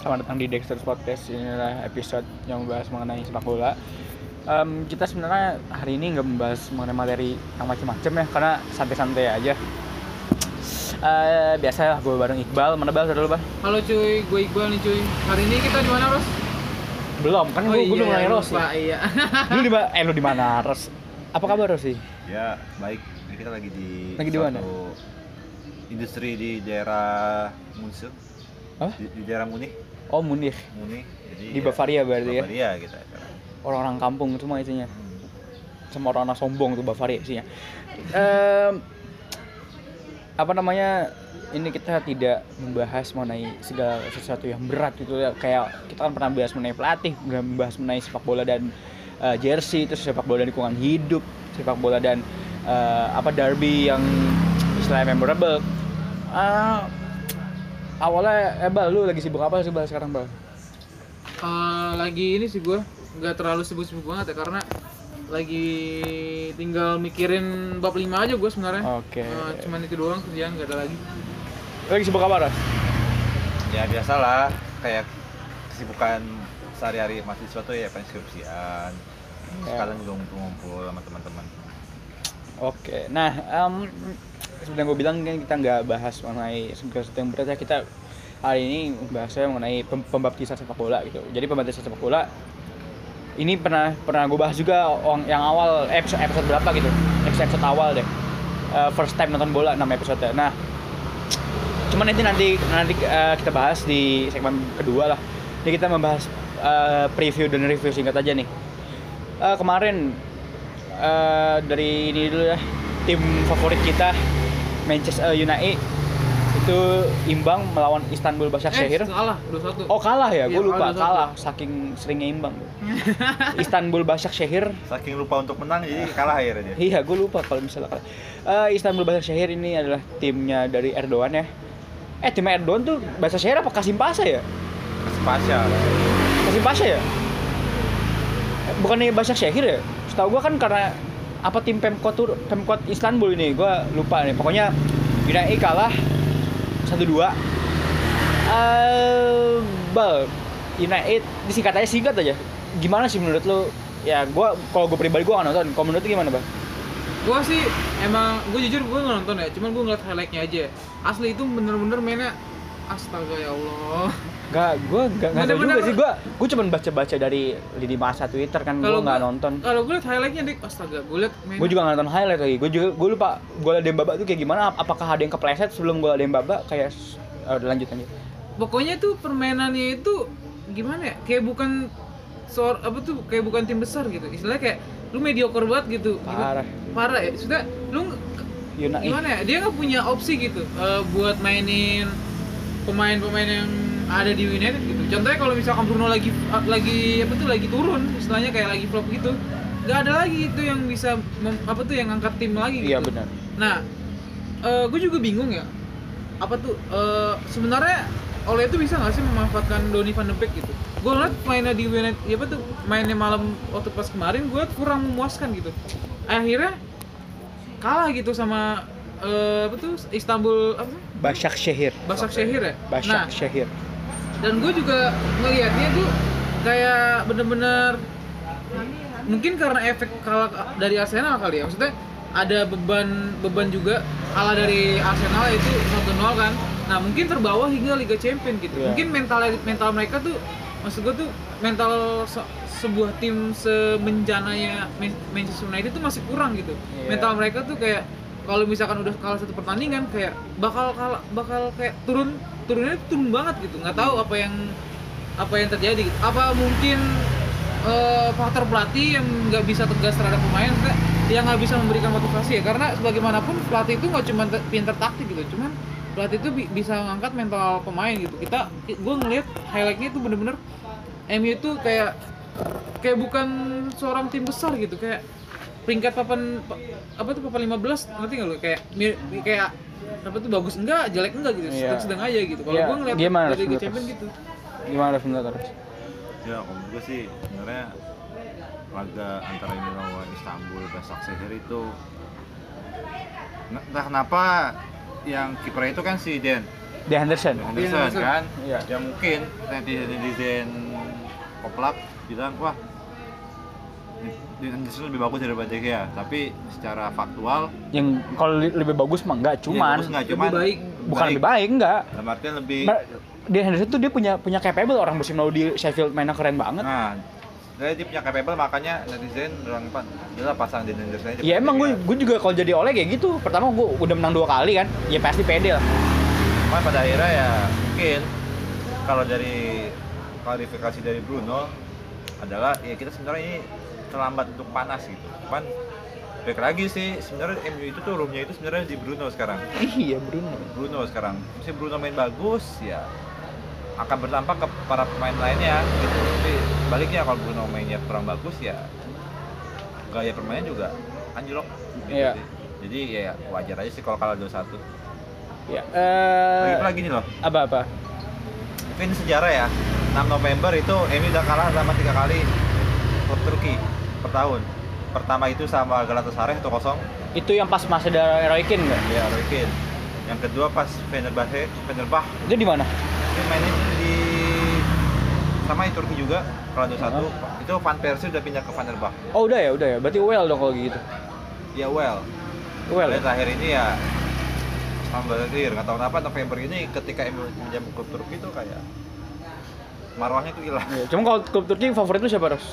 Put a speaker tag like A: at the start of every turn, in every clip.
A: selamat datang di Dexter's Podcast. Inilah episode yang membahas mengenai sepak bola. Em, kita sebenarnya hari ini nggak membahas mengenai materi yang macam-macam ya, karena santai-santai aja. Eh biasalah gue bareng Iqbal, mana Bal? Sudah lu, Bal?
B: Halo cuy, gue Iqbal nih cuy. Hari ini kita di mana, Ros?
A: Belum, kan gue belum mulai Ros.
B: lupa, Oh iya.
A: Lu di mana? Eh lu di mana, Ros? Apa kabar, Ros? sih?
C: Ya, baik. Ini kita lagi di
A: Lagi di mana?
C: suatu Industri di daerah Munchen.
A: Apa?
C: Di, di daerah Munich,
A: Oh, Munich.
C: Munich. Jadi
A: Di Bavaria berarti ya?
C: Bavaria kita sekarang.
A: Orang-orang kampung semua isinya.
C: Hmm.
A: sama orang anak sombong tuh Bavaria isinya. Em, apa namanya? Ini kita tidak membahas mengenai segala sesuatu yang berat gitu ya. Kayak kita kan pernah bahas mengenai pelatih, pernah membahas mengenai sepak bola dan eh, jersey, terus sepak bola dan lingkungan hidup, sepak bola dan eh, apa derby yang istilahnya memorable. Eh, awalnya eh, Bal, lu lagi sibuk apa sih Bal sekarang Bal?
B: Eh, lagi ini sih gue nggak terlalu sibuk-sibuk banget ya karena lagi tinggal mikirin bab 5 aja gue sebenarnya.
A: Oke.
B: Eh, cuman itu doang kerjaan nggak ada lagi.
A: Lu lagi sibuk apa, Ros?
C: Ya biasalah kayak kesibukan sehari-hari mahasiswa tuh ya pensiunan.
A: Ya.
C: Sekarang juga ngumpul-ngumpul sama teman-teman.
A: Oke, nah em seperti yang gue bilang kan kita nggak bahas mengenai segala sesuatu yang berat ya kita hari ini bahasnya mengenai pem- pembaptisan sepak bola gitu. Jadi pembaptisan sepak bola ini pernah pernah gue bahas juga orang- yang awal episode, episode berapa gitu, episode, episode awal deh. Eh, first time nonton bola 6 episode. Nah, cuman nanti nanti nanti eh, kita bahas di segmen kedua lah. Jadi kita membahas eh, preview dan review singkat aja nih. Eh, kemarin eh, dari ini dulu ya tim favorit kita Manchester United itu imbang melawan Istanbul Başakşehir.
B: Eh, kalah 2-1.
A: Oh kalah ya, gue
B: Iya,
A: lupa
B: kalah
A: kalah saking seringnya imbang. Istanbul Başakşehir
C: Saking lupa untuk menang jadi kalah akhirnya dia.
A: Iya, gue lupa kalau misalnya kalah. Eh, Istanbul Başakşehir ini adalah timnya dari Erdogan ya. Eh, tim Erdogan tuh Başakşehir apa Kasimpasa ya?
C: Spasial.
A: Kasimpasa ya? Eh, Bukannya Başakşehir ya? Setahu gue kan karena apa tim Pemkot Tur- Pemkot Istanbul ini, gue lupa nih. Pokoknya United kalah 1-2. Eh, Bal, United disingkat aja singkat aja. Gimana sih menurut lo? Ya, gua kalau gue pribadi gue nggak nonton. Kalau menurut lu gimana, Bang?
B: Gue sih emang gue jujur gue nggak nonton ya, cuman gue ngeliat highlightnya aja. Asli itu bener-bener mainnya astaga ya Allah.
A: Gak, gue gak, gak tau
B: Bener-bener.
A: juga sih, gue gue cuma baca-baca dari lini masa Twitter kan, gue
B: gua-
A: gak nonton
B: Kalau gue liat highlightnya dik astaga gue liat mainnya.
A: Gue juga gak nonton highlight lagi, gue juga, gue lupa bola Dembaba tuh kayak gimana, ap- apakah ada yang kepleset sebelum bola Dembaba kayak s- eh, udah lanjut lanjut
B: pokoknya tuh permainannya itu gimana ya kayak bukan sor apa tuh kayak bukan tim besar gitu istilahnya kayak lu mediocre banget gitu Gimana-
A: Parah. Nah,
B: parah ya sudah lu nge-
A: Yuna, ih,
B: gimana ya dia nggak punya opsi gitu eh, buat mainin pemain-pemain yang ada di United gitu contohnya kalau misalkan Bruno lagi eh, lagi apa tuh lagi turun istilahnya kayak lagi flop gitu nggak ada lagi itu yang bisa mem- apa tuh yang angkat tim lagi gitu
A: iya benar.
B: Nah, gue juga bingung ya. Apa tuh? eh, sebenarnya oleh itu bisa nggak sih memanfaatkan Donny van de Beek gitu? Gue liat mainnya di United, ya apa tuh? Mainnya malam waktu pas kemarin, gue kurang memuaskan gitu. Akhirnya kalah gitu sama eh, apa tuh? Istanbul apa?
A: Basak Syahir,
B: Basak Syahir ya.
A: Basak
B: Nah,
A: Syahir.
B: dan gue juga ngelihatnya tuh kayak bener-bener mungkin karena efek kalah dari Arsenal kali ya maksudnya ada beban beban juga kalah dari Arsenal itu 1-0 kan nah mungkin terbawa hingga Liga Champion gitu
A: Iya.
B: mungkin mental mental mereka tuh maksud gue tuh mental se- sebuah tim semenjananya Man- Manchester United tuh masih kurang gitu
A: Iya.
B: mental mereka tuh kayak kalau misalkan udah kalah satu pertandingan kayak bakal kalah bakal kayak turun turunnya tuh turun banget gitu nggak tahu apa yang apa yang terjadi gitu. apa mungkin eh, faktor pelatih yang nggak bisa tegas terhadap pemain Kak, yang nggak bisa memberikan motivasi ya karena sebagaimanapun pelatih itu nggak cuma te- pinter taktik gitu cuman pelatih itu bi- bisa ngangkat mental pemain gitu kita gue ngelihat highlightnya itu bener-bener MU itu kayak kayak bukan seorang tim besar gitu kayak peringkat papan pa- apa tuh papan 15 ngerti nggak lu kayak mir- kayak apa tuh bagus enggak jelek enggak gitu
A: Iya.
B: sedang aja gitu kalau
A: Iya,
B: gua ngeliat
A: gimana
B: dari Liga
A: menurut
B: Champion
A: lu?
B: gitu
A: Gimana sebenarnya terus?
C: Ya, kalau gue sih sebenarnya laga antara ini lawan Istanbul Basak itu nah, entah kenapa yang kiper itu kan si Den
A: di Henderson.
C: Anderson
B: Anderson.
C: kan
A: Iya.
C: ya mungkin netizen netizen poplap bilang wah di Anderson lebih bagus daripada De Gea tapi secara faktual
A: Yang kalau li- lebih bagus mah enggak, cuman
C: ya, bagus nggak,
B: Lebih
C: cuman
B: baik.
A: bukan lebih baik enggak.
C: dalam artian lebih
A: Di Henderson tuh dia punya punya capable orang musim lalu di Sheffield mainnya keren banget.
C: nah dari dia punya capable makanya netizen orang pan jelas pasang di Anderson aja
A: Ya
C: daripada
A: emang
C: De
A: gue
C: Gea.
A: gue juga kalau jadi oleh kayak gitu. Pertama gue udah menang dua kali kan, ya pasti pede lah.
C: cuman pada akhirnya ya mungkin kalau dari klarifikasi dari Bruno adalah ya kita sebenarnya ini terlambat untuk panas gitu cuman baik lagi sih sebenarnya MU itu tuh roomnya itu sebenarnya di Bruno sekarang
A: Iya Bruno.
C: Bruno sekarang si Bruno main bagus ya akan berdampak ke para pemain lainnya gitu tapi baliknya kalau Bruno mainnya kurang bagus ya gaya permainan juga anjlok gitu
A: Iya.
C: sih. jadi ya wajar aja sih kalau kalah 2-1
A: Ya. Eh
C: lagi lagi nih loh
A: apa apa?
C: ini sejarah ya 6 November itu MU udah kalah sama tiga kali klub Turki per tahun pertama itu sama Galatasaray 1-0
A: Itu yang pas masih ada Roy Keane nggak?
C: ya Roy Keane. yang kedua pas Fenerbahce Fenerbahce
A: Itu di mana?
C: dia mainnya di sama di Turki juga kalau ada satu itu Van Persie udah pindah ke Fenerbahce
A: Oh udah ya udah ya. Berarti well dong kalau gitu.
C: ya well
A: Well.
C: Dan
A: Ya?
C: terakhir ini ya Alhamdulillah clear nggak tahu kenapa November ini ketika MU pinjam ke Turki itu kayak marwahnya tuh hilang
A: Ya, Cuma kalau klub Turki favorit lu siapa Ros?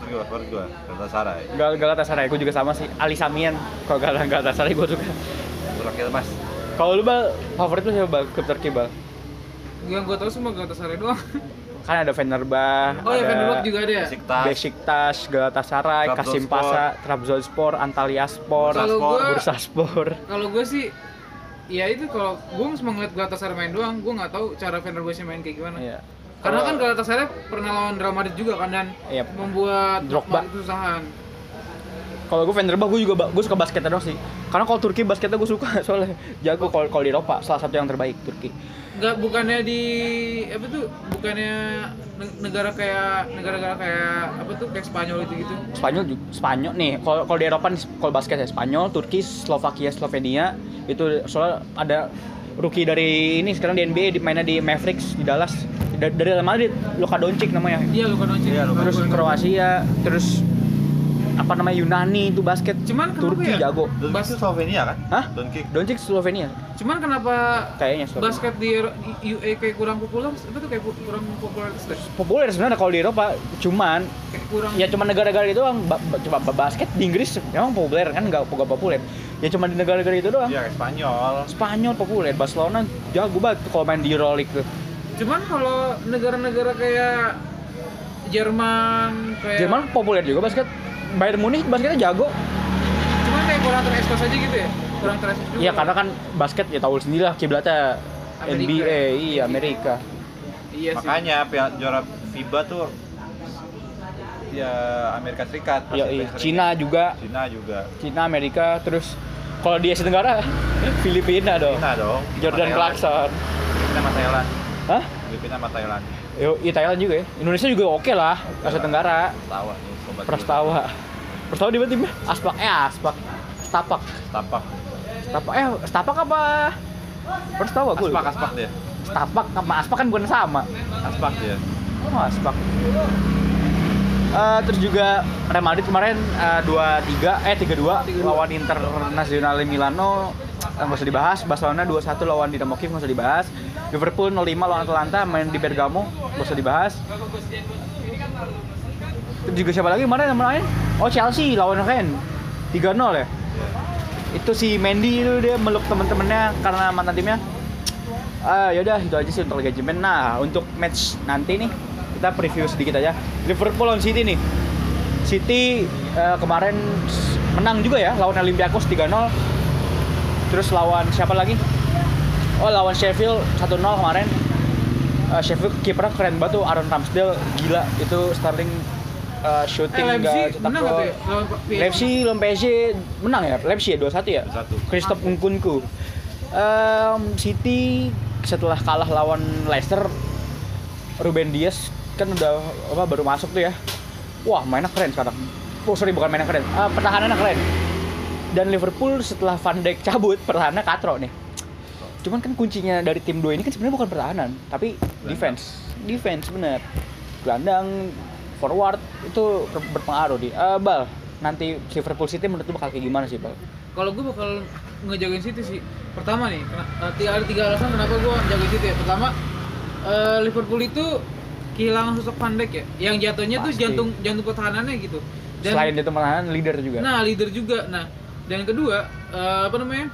C: Turki favorit gua Galatasaray
A: Gal Galatasaray, gue juga sama sih. Ali Samian, kalau Gal Galatasaray gue suka.
C: Burakil mas
A: Kalau lu bal, favorit lu siapa bal? Klub Turki bal?
B: Yang gue tahu semua Galatasaray doang.
A: Kan ada Fenerbah,
B: Oh ya Fenerbahce juga ada ya.
C: Besiktas
A: Besiktas, Galatasaray,
C: Trabzonspor.
A: Kasimpasa, Trabzonspor, Antalyaspor,
B: Kalau gue
A: Bursaspor.
B: kalau gue sih ya itu kalau gue cuma ngeliat Galatasaray main doang, gue nggak tahu cara Fenerbahce main kayak gimana.
A: Iya.
B: Karena kan Galatasaray pernah lawan Real Madrid juga kan dan
A: Iya.
B: membuat
A: Drogba.
B: Madrid kesusahan.
A: Kalau gue Fenerbah, gue juga ba- gue suka basketnya dong sih. Karena kalau Turki basketnya gue suka soalnya jago kalau kalau di Eropa salah satu yang terbaik Turki.
B: Nggak bukannya di apa tuh bukannya ne- negara kayak negara-negara kayak apa tuh kayak Spanyol itu gitu.
A: Spanyol juga Spanyol nih. Kalau kalau di Eropa nih kalau basket ya Spanyol, Turki, Slovakia, Slovenia itu soalnya ada rookie dari ini sekarang di NBA di, mainnya di Mavericks di Dallas Da- dari Real Madrid Luka Doncic namanya
B: Iya Luka Doncic.
C: Iya, Luka
A: terus Kroasia terus apa namanya Yunani itu basket
B: Cuman kenapa
A: Turki
B: ya?
A: jago
C: Don
B: Bas-
C: Kick Slovenia kan?
A: Hah?
C: Don Kick
A: Doncic Slovenia
B: Cuman kenapa
A: kayaknya Slovenia.
B: basket di Euro- di UE kayak kurang populer? Apa tuh kayak pu- kurang populer? Kayak
A: populer sebenarnya kalau di Eropa cuman
B: kurang
A: ya cuma negara-negara itu doang Ba- ba- coba ba- basket di Inggris emang populer kan nggak nggak populer ya cuma di negara-negara itu doang
C: Iya, kayak Spanyol
A: Spanyol populer, Barcelona jago banget kalau main di Euroleague tuh.
B: Cuman kalau negara-negara kayak Jerman kayak
A: Jerman populer juga basket. Bayern Munich basketnya jago.
B: cuman kayak kurang terekspos aja gitu ya. Kurang terekspos. juga.
A: Iya karena kan basket ya tahu sendiri lah kiblatnya
B: Amerika.
A: NBA, iya Amerika.
B: iya sih.
C: Makanya pihak juara FIBA tuh ya Amerika Serikat.
A: Iya,
C: pasti
A: iya.
C: paling
A: Cina juga,
C: sering. Cina juga.
A: Cina, Amerika, terus kalau di Asia Tenggara Filipina dong.
C: Cina dong.
A: Jordan
C: Sama Thailand.
A: Clarkson.
C: Filipina sama Thailand.
A: Hah?
C: Filipina sama Thailand.
A: Yo, iya, Thailand juga ya. Indonesia juga oke lah, Asia Tenggara.
C: Prastawa nih ah, sobat.
A: Prastawa. Prastawa di mana timnya? Aspak eh Aspak. Stapak.
C: dulu. Tapak.
A: Stapak eh Stapak apa? Prastawa gue.
C: Aspak, aspak dia.
A: Stapak sama Aspak kan bukan sama.
C: Aspak dia.
A: Oh, Aspak. Eh, terus juga Real Madrid kemarin eh, 2-3 eh 3-2 lawan Internazionale Milano eh, nggak usah dibahas Barcelona 2-1 lawan Dinamo Kiev nggak usah dibahas Liverpool 0-5 lawan Atalanta main di Bergamo nggak usah dibahas terus juga siapa lagi kemarin yang main oh Chelsea lawan Rennes 3-0 ya itu si Mendy itu dia meluk temen-temennya karena mantan timnya Ah, yaudah itu aja sih untuk Liga Jerman. Nah, untuk match nanti nih kita preview sedikit aja. Liverpool lawan City nih. City eh, kemarin s- menang juga ya lawan Olympiakos 3-0. Terus lawan siapa lagi? Oh, lawan Sheffield 1-0 kemarin. Eh, Sheffield kipernya keren banget tuh Aaron Ramsdale gila itu starting eh,
B: Eh
A: shooting nggak
B: Leipzig
A: cetak
B: menang nggak
A: gol.
B: tuh ya? Lawan PSG.
A: Leipzig lawan PSG menang ya? Leipzig ya 2-1 ya?
C: Satu.
A: Christoph Nkunku. Em, City setelah kalah lawan Leicester, Ruben Dias kan udah apa baru masuk tuh ya. Wah, mainnya keren sekarang. Oh, sorry bukan mainnya keren. Eh, pertahanannya keren. Dan Liverpool setelah Van Dijk cabut, pertahanannya katro nih. Cuman kan kuncinya dari tim dua ini kan sebenarnya bukan pertahanan, tapi
C: Gelandang.
A: defense. Defense bener. Gelandang forward itu ber- berpengaruh di Eh, bal. Nanti Liverpool City menurut lu bakal kayak gimana sih, Bal?
B: Kalau gue bakal ngejagain City sih. Pertama nih, kena- eh, tiga, ada tiga alasan kenapa gue jagain City ya. Pertama, eh, Liverpool itu kehilangan sosok Van Dijk ya, yang jatuhnya tuh
A: Pasti.
B: jantung jantung pertahanannya gitu. Dan-
A: Selain itu pertahanan leader juga.
B: Nah, leader juga. Nah, dan yang kedua, eh, apa namanya?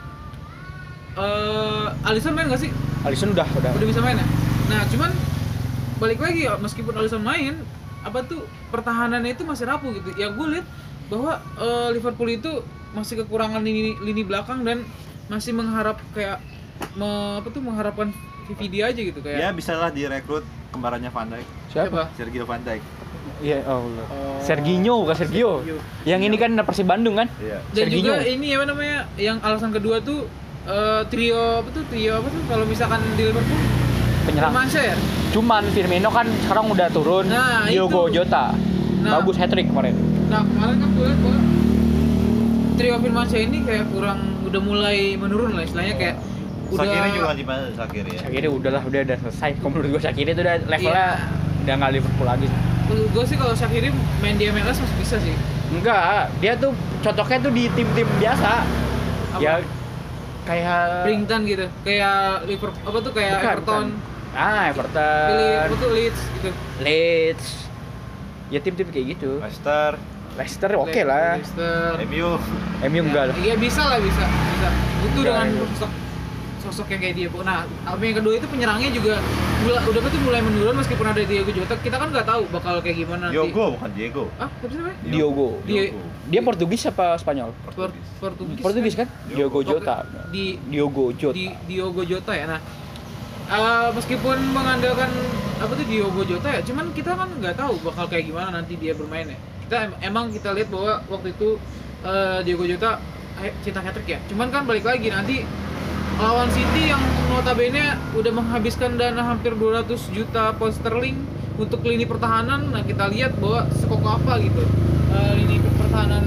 B: Eh, Alisson main gak sih?
A: Alisson udah udah.
B: Udah bisa main ya? Nah, cuman balik lagi meskipun Alisson main, apa tuh pertahanannya itu masih rapuh gitu. Ya gue lihat bahwa eh, Liverpool itu masih kekurangan lini lini belakang dan masih mengharap kayak me- apa tuh mengharapkan VVD aja gitu
C: Ya
B: kayak.
C: bisalah direkrut kembarannya Van Dijk,
A: Siapa?
C: Sergio Van Dijk.
A: Iya, oh. Allah.
B: Oh.
A: Serginho bukan Sergio.
B: Sergio.
A: Yang ini kan Persib Bandung kan?
C: Iya.
B: dan
A: Serginho.
B: juga ini apa namanya yang alasan kedua tuh eh, trio apa tuh trio apa tuh kalau misalkan di Liverpool
A: Penyerang.
B: Manchester
A: Cuman Firmino kan sekarang udah turun.
B: Nah,
A: Diogo
B: itu.
A: Jota.
B: Nah.
A: Bagus hat trick kemarin.
B: nah kemarin kan gue liat bahwa trio Firmansyah ini kayak kurang udah mulai menurun lah istilahnya kayak udah
C: Sakiri juga di mana Sakiri ya?
A: Shakiri udahlah udah udah selesai. Kalau menurut gue Shakiri itu udah levelnya
B: Iya.
A: udah nggak Liverpool lagi.
B: menurut gue sih kalau Syakiri main di MLS masih bisa sih
A: Enggak, dia tuh cocoknya tuh di tim-tim biasa.
B: Apa?
A: Ya kayak
B: Brington gitu kayak Liverpool apa tuh kayak
A: Bukan,
B: Everton
A: bukan. Ah, Everton.
B: pilih apa tuh Leeds gitu
A: Leeds. Ya tim-tim kayak gitu.
C: Leicester,
A: Leicester oke lah.
B: Leicester
C: MU.
A: MU enggak lah.
B: Iya bisa lah bisa, bisa. Itu
A: Enggak,
B: dengan
A: iya.
B: sosok sosok yang kayak dia. Nah, apa yang kedua itu penyerangnya juga mulai udah tuh mulai menurun meskipun ada Diego Jota, kita kan nggak tahu bakal kayak gimana nanti.
C: Diogo bukan Diego.
B: Ah, siapa sih namanya?
A: Diogo.
B: Di-
C: Diogo.
A: Dia Portugis apa Spanyol?
B: Por-
C: Portugis.
B: Portugis.
A: Portugis kan? Diogo
C: Diogo.
A: Jota.
B: Di
A: Diogo Jota.
B: di Diogo Jota ya. Nah, eh, meskipun mengandalkan apa tuh Diogo Jota ya, cuman kita kan nggak tahu bakal kayak gimana nanti dia bermain ya. Kita em- emang kita lihat bahwa waktu itu eh, Diogo Jota eh, cetak hat ya. Cuman kan balik lagi nanti lawan City yang notabene udah menghabiskan dana hampir 200 juta pound sterling untuk lini pertahanan. Nah, kita lihat bahwa sekokoh apa gitu eh, lini pertahanan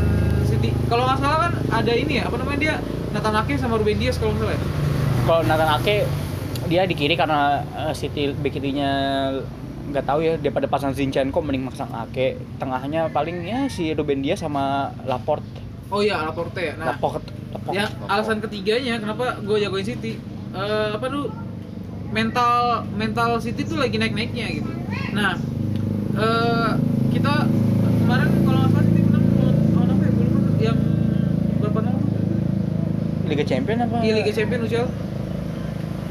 B: City. Kalau nggak salah kan ada ini ya, apa namanya dia Nathan Ake sama Ruben Dias kalau nggak salah ya?
A: kalau Nathan Ake dia di kiri karena eh, City back kirinya nggak tahu ya daripada pasang Zinchenko mending pasang Ake tengahnya paling ya si Ruben Dias sama Laporte
B: Oh iya, Laporte ya. Nah,
A: Laporte Laporte
B: ya alasan ketiganya kenapa gue jagoin City eh, apa tuh mental mental City tuh lagi naik naiknya gitu. Nah, eh, kita kemarin kalau nggak salah City menang lawan lawan apa ya? Gue lupa tuh, yang berapa nol tuh?
A: Liga Champion apa
B: Iya Liga Champions UCL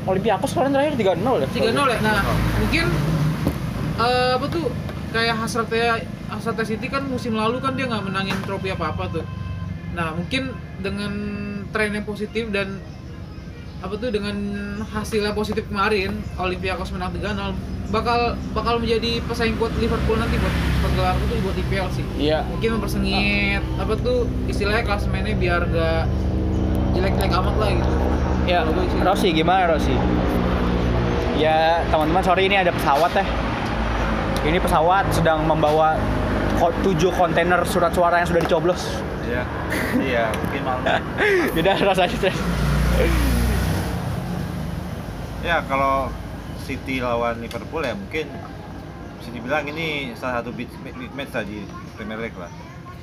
A: Olympiakos kemarin terakhir 3-0 ya
B: 3-0 ya. Nah, mungkin eh, apa tuh kayak hasratnya hasratnya City kan musim lalu kan dia nggak menangin trofi apa apa tuh. Nah, mungkin dengan tren yang positif dan apa tuh dengan hasilnya positif kemarin Olympiakos menang 3-0 bakal bakal menjadi pesaing kuat Liverpool nanti buat penggelar itu buat IPL sih
A: iya
B: mungkin mempersengit
A: Ah.
B: apa tuh istilahnya klasemennya biar gak jelek-jelek amat lah gitu
A: ya
B: Kalau gua sih-
A: Rossi gimana Rossi ya teman-teman sorry ini ada pesawat teh ini pesawat sedang membawa ko- tujuh kontainer surat suara yang sudah dicoblos
C: Iya. Iya, mungkin malam.
A: beda rasanya Teh.
C: Ya kalau City lawan Liverpool ya mungkin bisa dibilang ini salah satu big big match lah di Premier League lah,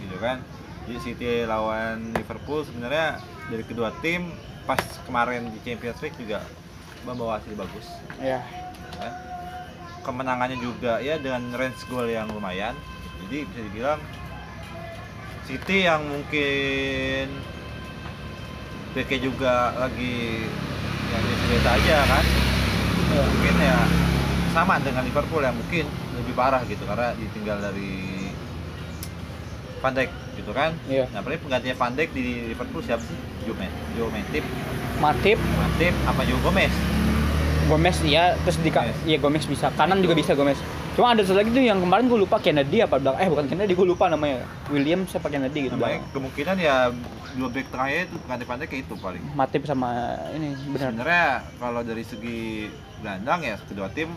C: gitu kan. Jadi City lawan Liverpool sebenarnya dari kedua tim pas kemarin di Champions League juga membawa hasil bagus.
A: ya
C: gitu kan. Kemenangannya juga ya dengan range goal yang lumayan. Jadi bisa dibilang City yang mungkin BK juga lagi yang cerita aja kan mungkin ya sama dengan Liverpool yang mungkin lebih parah gitu karena ditinggal dari Van Dijk gitu kan
A: Iya.
C: nah paling penggantinya Van Dijk di Liverpool siapa sih? Jumet, Jumetip,
A: Matip
C: Matip, apa Joe Gomez?
A: Gomez iya terus di
C: Gomez.
A: iya Gomez bisa kanan juga bisa Gomez cuma ada satu lagi tuh yang kemarin gue lupa Kennedy apa belakang eh bukan Kennedy gue lupa namanya William siapa Kennedy gitu
C: Namanya kemungkinan ya dua back tengahnya itu pengganti Van Dijk kayak itu paling.
A: belakang. Matip sama ini benar
C: Sebenarnya kalau dari segi gelandang ya kedua tim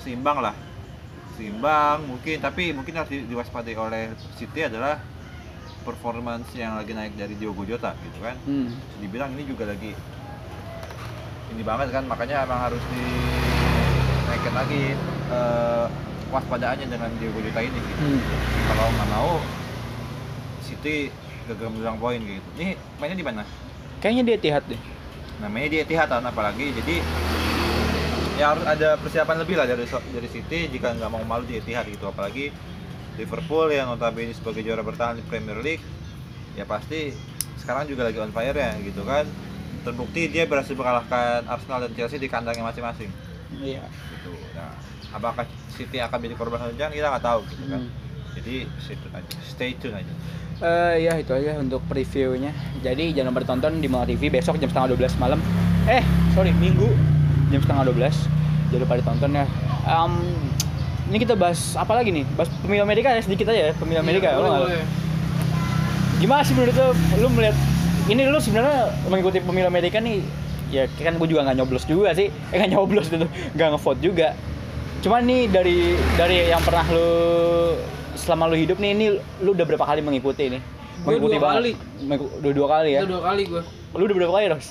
C: seimbang lah. Seimbang mungkin tapi mungkin harus di- diwaspadai oleh City adalah performance yang lagi naik dari Diogo Jota gitu kan.
A: hmm.
C: Bisa dibilang ini juga lagi ini banget kan makanya emang harus di naikin lagi eh, waspadaannya dengan Diego Jota ini gitu.
A: Hmm.
C: kalau nggak mau City gagal mendulang poin gitu ini mainnya di mana
A: Kayaknya dia tihat deh.
C: namanya di Etihad kan, apalagi jadi ya harus ada persiapan lebih lah dari dari City jika nggak mau malu di Etihad gitu apalagi Liverpool yang notabene sebagai juara bertahan di Premier League ya pasti sekarang juga lagi on fire ya gitu kan terbukti dia berhasil mengalahkan Arsenal dan Chelsea di kandangnya masing-masing
A: Iya.
C: gitu nah apakah City akan jadi korban hujan kita nggak tahu gitu kan
A: Hmm.
C: jadi stay tune aja stay tune aja
A: Eh ya itu aja untuk previewnya. Jadi jangan lupa ditonton di Mola TV besok jam setengah 12 malam. Eh, sorry, Minggu jam setengah 12. Jangan lupa ditonton ya. Em, ini kita bahas apa lagi nih? Bahas pemilu Amerika ya sedikit aja ya, pemilu Amerika.
B: Iya,
A: Lo nggak-
B: boleh.
A: Gimana sih menurut lo, lo melihat ini lo sebenarnya mengikuti pemilu Amerika nih ya kan gue juga nggak nyoblos juga sih eh nggak nyoblos itu nggak ngevote juga cuman nih dari dari yang pernah lo selama lo hidup nih ini lo udah berapa kali mengikuti nih
B: Gua
A: mengikuti
B: dua kali.
A: Mengiku- dua dua kali ya
B: Itu dua kali gue
A: lo udah berapa kali Ros?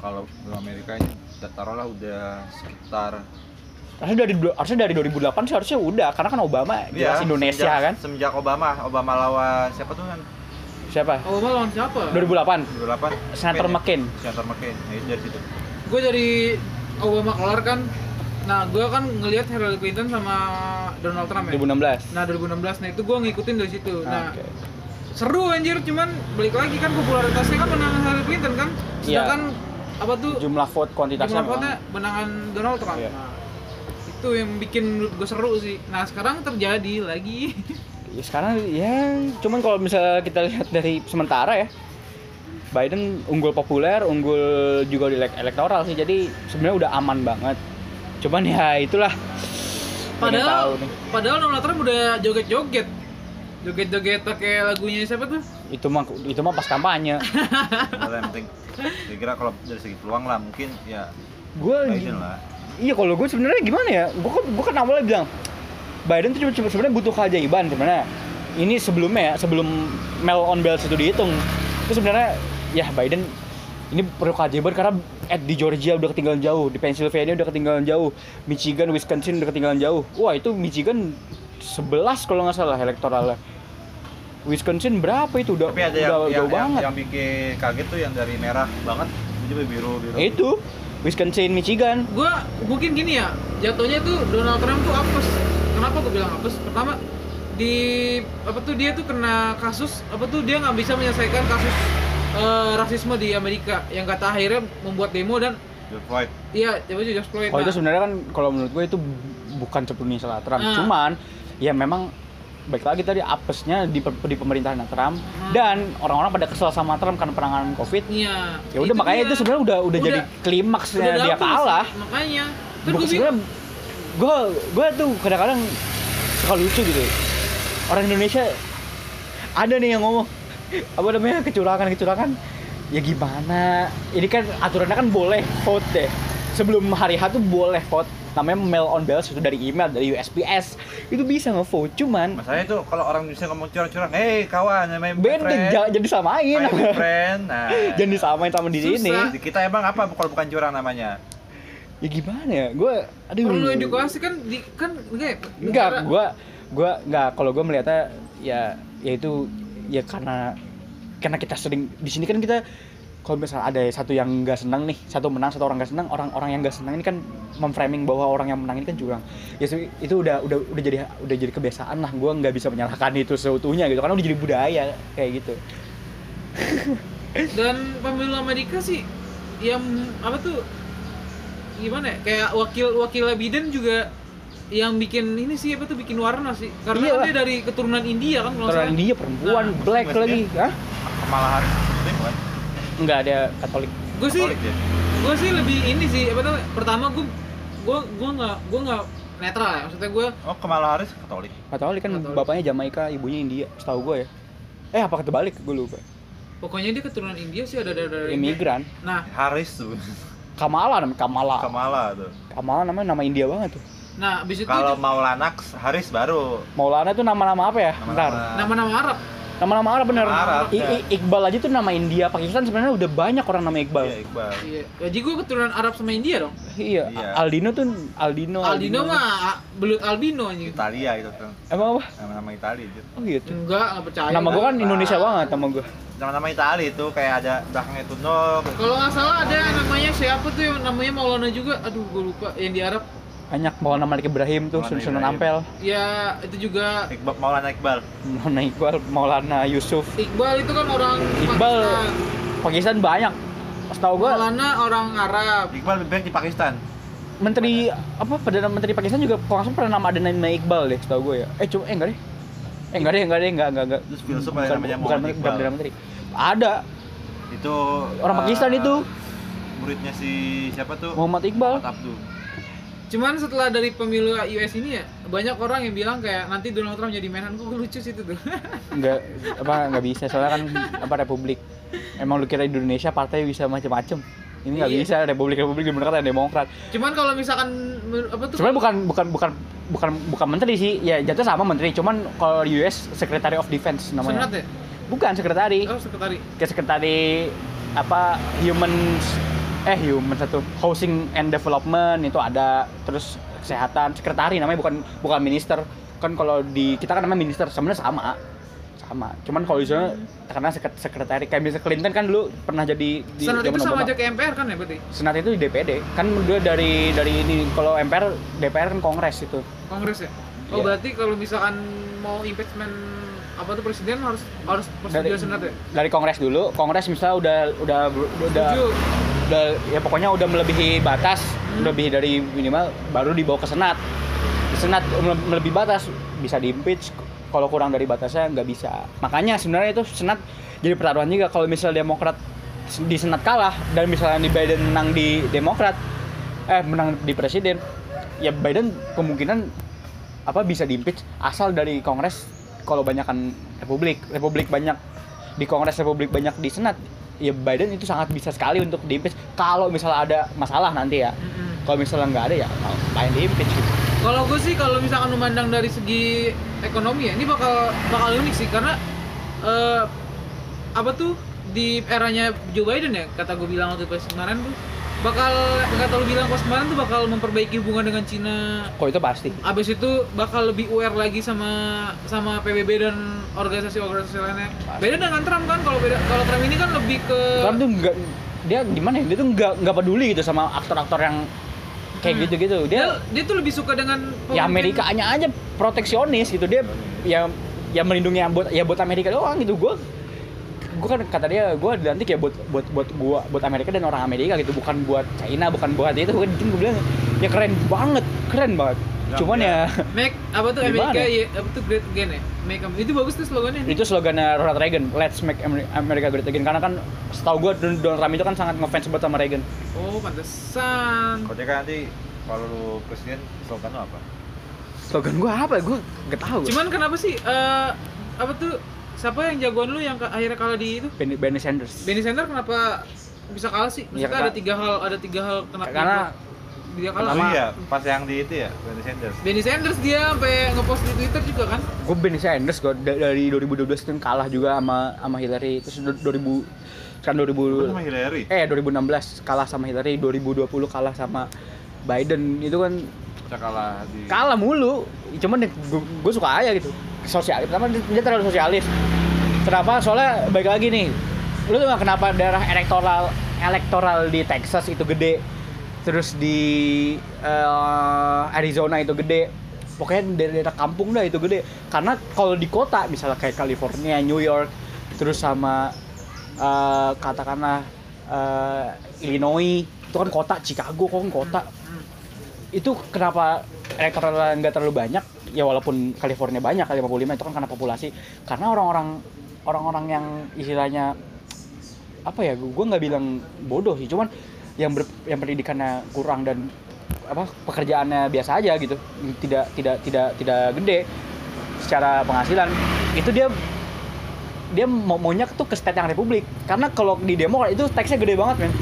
C: kalau belum Amerika ini taruhlah udah sekitar
A: harusnya dari dua- harusnya dari 2008 sih harusnya udah karena kan Obama jelas
C: Iya,
A: Indonesia
C: semenjak-
A: kan
C: Semenjak Obama, Obama lawan siapa tuh kan?
A: siapa
B: Obama lawan siapa?
A: 2008
C: 2008.
A: Senator McCain.
C: Senator McCain. Ya, itu dari situ.
B: gue dari Obama kelar kan nah gue kan ngelihat Hillary Clinton sama Donald Trump ya
A: 2016
B: nah 2016 nah itu gue ngikutin dari situ
A: Ah,
B: nah
A: Oke.
B: seru anjir cuman balik lagi kan popularitasnya kan menangan Hillary Clinton kan
A: Iya.
B: sedangkan apa tuh
A: jumlah vote kuantitasnya
B: jumlah vote-nya menangan Donald Trump
A: Iya.
B: Nah, itu yang bikin menurut gue seru sih nah sekarang terjadi lagi
A: ya sekarang ya cuman kalau misalnya kita lihat dari sementara ya Biden unggul populer, unggul juga di elek- elektoral sih. Jadi sebenarnya udah aman banget. Cuman ya itulah. Pengen tahu
B: padahal
A: nih.
B: padahal Donald Trump udah joget-joget joget-joget pakai lagunya siapa tuh
A: itu mah itu mah pas kampanye.
C: Kalau yang penting saya kira kalau dari segi peluang lah mungkin ya
A: Gue
C: Biden lah.
A: iya kalau gue sebenarnya gimana ya? Gue kan gue kan awalnya bilang Biden tuh cuma- cuma sebenarnya butuh keajaiban sebenarnya. Ini sebelumnya ya, sebelum Mel on Bells itu dihitung. Itu sebenarnya ya Biden ini perlu keajaiban karena at di Georgia udah ketinggalan jauh, di Pennsylvania udah ketinggalan jauh, Michigan, Wisconsin udah ketinggalan jauh. Wah, itu Michigan 11 kalau nggak salah elektoralnya. Wisconsin berapa itu udah
C: Tapi ada
A: udah
C: yang
A: jauh
C: yang, yang,
A: banget.
C: yang bikin kaget tuh yang dari merah banget jadi biru biru.
A: itu Wisconsin, Michigan.
B: gue mungkin gini ya jatuhnya tuh Donald Trump tuh apes kenapa gue bilang apes pertama di apa tuh dia tuh kena kasus apa tuh dia nggak bisa menyelesaikan kasus eh, rasisme di Amerika yang kata akhirnya membuat demo dan
C: George Floyd.
B: iya coba aja George Floyd
A: Kalau itu
B: Nah,
A: sebenarnya kan kalau menurut gue itu bukan sepenuhnya salah Trump,
B: Ah.
A: cuman ya memang baik lagi tadi apesnya di, pe- di pemerintahan Trump
B: Ah.
A: dan orang-orang pada kesel sama Trump karena penanganan COVID.
B: iya
A: Ya udah makanya
B: dia.
A: itu sebenarnya udah, udah jadi klimaksnya
B: udah
A: dia
B: dapet
A: kalah.
B: sih, makanya
A: Bukan
B: terus gue bilang
A: sebenarnya gue gue tuh kadang-kadang suka lucu gitu. Orang Indonesia ada nih yang ngomong apa namanya kecurangan kecurangan ya gimana ini kan aturannya kan boleh vote deh sebelum hari H tuh boleh vote namanya mail on balance itu dari email dari USPS itu bisa ngevote cuman
C: Masalahnya Nah, tuh kalau orang bisa ngomong curang-curang, "Hei kawan, namanya
A: benteng jangan jadi samain
C: friend." Nah.
A: jangan disamain sama di sini
B: Susah.
C: di kita emang apa kalau bukan curang namanya?
A: ya gimana ya gue aduh
B: perlu edukasi kan di kan enggak ya, negara-
A: Enggak, gua gua enggak kalau gua melihatnya ya yaitu ya karena karena kita sering di sini kan kita kalau misalnya ada satu yang nggak senang nih, satu menang, satu orang nggak senang, orang-orang yang nggak senang ini kan memframing bahwa orang yang menang ini kan curang. Ya se- itu udah udah udah jadi udah jadi kebiasaan lah. Gua nggak bisa menyalahkan itu seutuhnya gitu karena udah jadi budaya kayak gitu.
B: dan pemilu Amerika sih yang apa tuh gimana ya kayak wakil wakil Biden juga yang bikin ini sih apa tuh bikin warna sih karena kan
A: Iyalah.
B: dia dari keturunan India kan kalau
A: Orang dia perempuan,
B: Nah,
A: black
C: maksudnya?
A: lagi, Hah?
C: Kamala Harris muslim kan?
A: Enggak ada Katolik.
B: gue sih
C: Katolik ya? dia.
B: gue sih lebih ini sih apa tuh pertama gue gue gue nggak gue nggak netral ya maksudnya gue
C: Oh, Kamala Harris Katolik.
A: Katolik kan
B: Katolik.
A: bapaknya Jamaika, ibunya India, setahu gue ya. Eh apa kebalik? Gue lupa.
B: pokoknya dia keturunan India sih ada dari dari
A: Imigran.
B: nah
C: Harris tuh.
A: Kamala namanya Kamala.
C: Kamala tuh.
A: Kamala namanya nama India banget tuh.
B: nah abis itu
C: Kalau Maulana Haris baru
A: Maulana tuh nama-nama apa ya? Bentar.
C: nama-nama
B: nama-nama Arab
A: Nama-nama Arab bener.
C: Nama Arab,
A: I-
C: ya.
A: I- Iqbal aja tuh nama India, Pakistan sebenarnya udah banyak orang nama Iqbal.
C: Iya, Iqbal.
B: Iya. Gaji gue keturunan Arab sama India dong.
A: Iya,
C: Iya.
A: Aldino tuh Aldino.
B: Aldino mah a- belut albino anjing.
C: Italia itu tuh.
A: Emang apa?
C: Nama-nama Italia itu.
A: Oh gitu.
B: Enggak, enggak
C: Iya.
B: percaya.
A: Nama gua kan
C: Pak.
A: Indonesia banget nama gua.
C: Nama-nama Italia itu kayak ada belakangnya itu gitu. nol.
B: Kalau nggak salah ada yang namanya siapa tuh yang namanya Maulana juga. Aduh, gue lupa yang di Arab.
A: Banyak mau nama Malik Ibrahim tuh,
C: Maulana
A: Sun Sunan
C: Ibrahim.
A: Ampel,
B: Ya itu juga
C: Iqbal Maulana Iqbal.
A: Maulana Iqbal, Maulana Yusuf.
B: Iqbal itu kan orang
A: Iqbal
B: Pakistan.
A: Pakistan banyak. Setahu gua
B: Maulana orang Arab.
C: Iqbal lebih baik di Pakistan.
A: menteri apa perdana menteri Pakistan juga kalau nggak salah pernah nama ada nama Iqbal deh setahu gue ya eh cuma eh enggak deh eh enggak deh enggak deh enggak enggak enggak
C: Terus filsuf ada
A: bukan,
C: namanya
A: bukan,
C: Muhammad
A: menteri-
C: Iqbal.
A: bukan perdana menteri ada
C: Itu
A: Orang
C: eh,
A: Pakistan itu.
C: Muridnya si siapa tuh?
A: Muhammad Iqbal
C: Muhammad Abdul.
B: Cuman setelah dari pemilu US ini ya, banyak orang yang bilang kayak nanti Donald Trump jadi menhan kok lucu sih itu tuh.
A: enggak apa enggak bisa soalnya kan apa republik emang lu kira Indonesia partai bisa macam-macam ini nggak
B: Iya.
A: bisa republik republik demokrat dan demokrat
B: Cuman kalau misalkan menur- apa tuh?
A: sebenarnya bukan bukan bukan bukan bukan menteri sih ya jatuh sama menteri cuman kalau di US Secretary of Defense
B: Senat
A: namanya
B: ya?
A: bukan sekretari
B: Oh, sekretari.
A: ke sekretari apa human eh human satu housing and development itu ada terus kesehatan sekretari namanya bukan bukan minister kan kalau di kita kan namanya minister sebenarnya sama sama cuman kalau di sana karena sek- sekretari kayak Mr. Clinton kan dulu pernah jadi di
B: Senat itu
A: zaman
B: sama
A: Obama.
B: aja ke MPR kan ya berarti?
A: Senat itu di DPD kan dia dari dari ini kalau MPR DPR kan kongres itu
B: Kongres ya?
A: Iya.
B: Oh berarti kalau misalkan mau impeachment apa tuh presiden harus harus
A: dari
B: persetujuan senat ya?
A: dari kongres dulu kongres misalnya udah udah udah
B: Setuju.
A: udah ya pokoknya udah melebihi batas udah lebih dari minimal baru dibawa ke senat Ke senat mele- melebihi batas bisa diimpeach kalau kurang dari batasnya nggak bisa makanya sebenarnya itu senat jadi pertaruhan juga kalau misalnya demokrat di senat kalah dan misalnya di Biden menang di demokrat eh menang di presiden ya Biden kemungkinan apa bisa diimpeach asal dari kongres kalau banyakkan republik republik banyak di kongres republik banyak di senat ya Biden itu sangat bisa sekali untuk diimpeach kalau misalnya ada masalah nanti ya
B: Mm-mm.
A: kalau misalnya nggak ada ya main diimpeach gitu.
B: Kalau gue sih kalau misalkan memandang dari segi ekonomi ya, ini bakal bakal unik sih karena eh, apa tuh di eranya Joe Biden ya, kata gue bilang waktu pas kemarin tuh bakal kata lu bilang pas kemarin tuh bakal memperbaiki hubungan dengan Cina.
A: kok itu pasti
B: Abis itu bakal lebih aware lagi sama sama PBB dan organisasi-organisasi lainnya. Beda dengan Trump kan kalau beda kalau Trump ini kan lebih ke
A: Trump tuh nggak dia gimana ya dia tuh nggak nggak peduli gitu sama aktor-aktor yang kayak
B: Hmm.
A: gitu-gitu dia
B: dia dia tuh lebih suka dengan
A: ya
B: pemimpin-
A: Amerikanya aja proteksionis gitu dia ya ya melindungi yang buat ya buat Amerika doang gitu gue gue kan kata dia gue dilantik ya buat buat buat gua buat Amerika dan orang Amerika gitu bukan buat China bukan buat itu kan gue bilang ya keren banget keren banget
C: Ya,
A: cuman
C: ya.
A: ya
B: Make apa tuh
A: Gimana?
B: Amerika ya, apa tuh great again ya? Make Am- itu bagus tuh slogannya.
A: ya, itu slogannya Ronald Reagan Let's make Amer- America great again karena kan setahu gue Donald Trump itu kan sangat ngefans banget sama Reagan
B: Oh, pantesan.
C: Kalau dia kan nanti kalau lu presiden slogan lu apa?
A: slogan gue apa gue gak tau
B: Cuman kenapa sih eh apa tuh siapa yang jagoan lu yang ke- akhirnya kalah di itu?
A: Bernie, Bernie Sanders
B: Benny Sanders kenapa bisa kalah
A: Ya,
B: sih? Maksudnya
C: Iya,
A: karena-
B: ada tiga hal, ada tiga hal kenapa
A: karena
B: dia kalah.
C: kan. Pertama,
A: Pertama-
C: iya, pas yang di itu ya, Bernie Sanders.
B: Benny Sanders dia sampai ngepost di Twitter juga kan?
A: gue Bernie Sanders gue dari 2012 itu yang kalah juga sama sama Hillary terus du- 2000 sekarang
C: Lu sama
A: 2000
C: Hillary.
A: eh 2016 kalah sama Hillary 2020 kalah sama Biden itu kan
C: Kita kalah di
A: kalah mulu cuman gue suka aja gitu sosialis pertama dia- dia terlalu sosialis kenapa soalnya baik lagi nih lu tuh nggak kenapa daerah elektoral elektoral di Texas itu gede terus di eh, Arizona itu gede pokoknya daerah-daerah kampung dah itu gede karena kalau di kota misalnya kayak California New York terus sama eh, katakanlah eh, Illinois itu kan kota Chicago kok kan kota
B: Hmm.
A: itu kenapa elektoral nggak terlalu banyak ya walaupun California banyak kali 55 itu kan karena populasi karena orang-orang orang-orang yang istilahnya apa ya gue nggak bilang bodoh sih cuman yang ber, yang pendidikannya kurang dan apa pekerjaannya biasa aja gitu tidak tidak tidak tidak gede secara penghasilan itu dia dia mau maunya tuh ke state yang republik karena kalau di demokrat itu teksnya gede banget men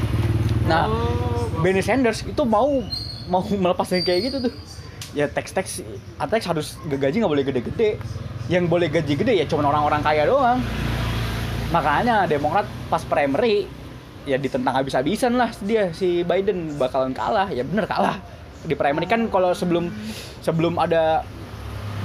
A: nah
B: Oh,
A: Bernie Sanders itu mau mau melepasnya kayak gitu tuh ya teks-teks Atex harus gaji nggak boleh gede-gede yang boleh gaji gede ya cuma orang-orang kaya doang. Makanya Demokrat pas primary ya ditentang habis-habisan lah dia si Biden bakalan kalah. Ya bener kalah. Di primary kan kalau sebelum sebelum ada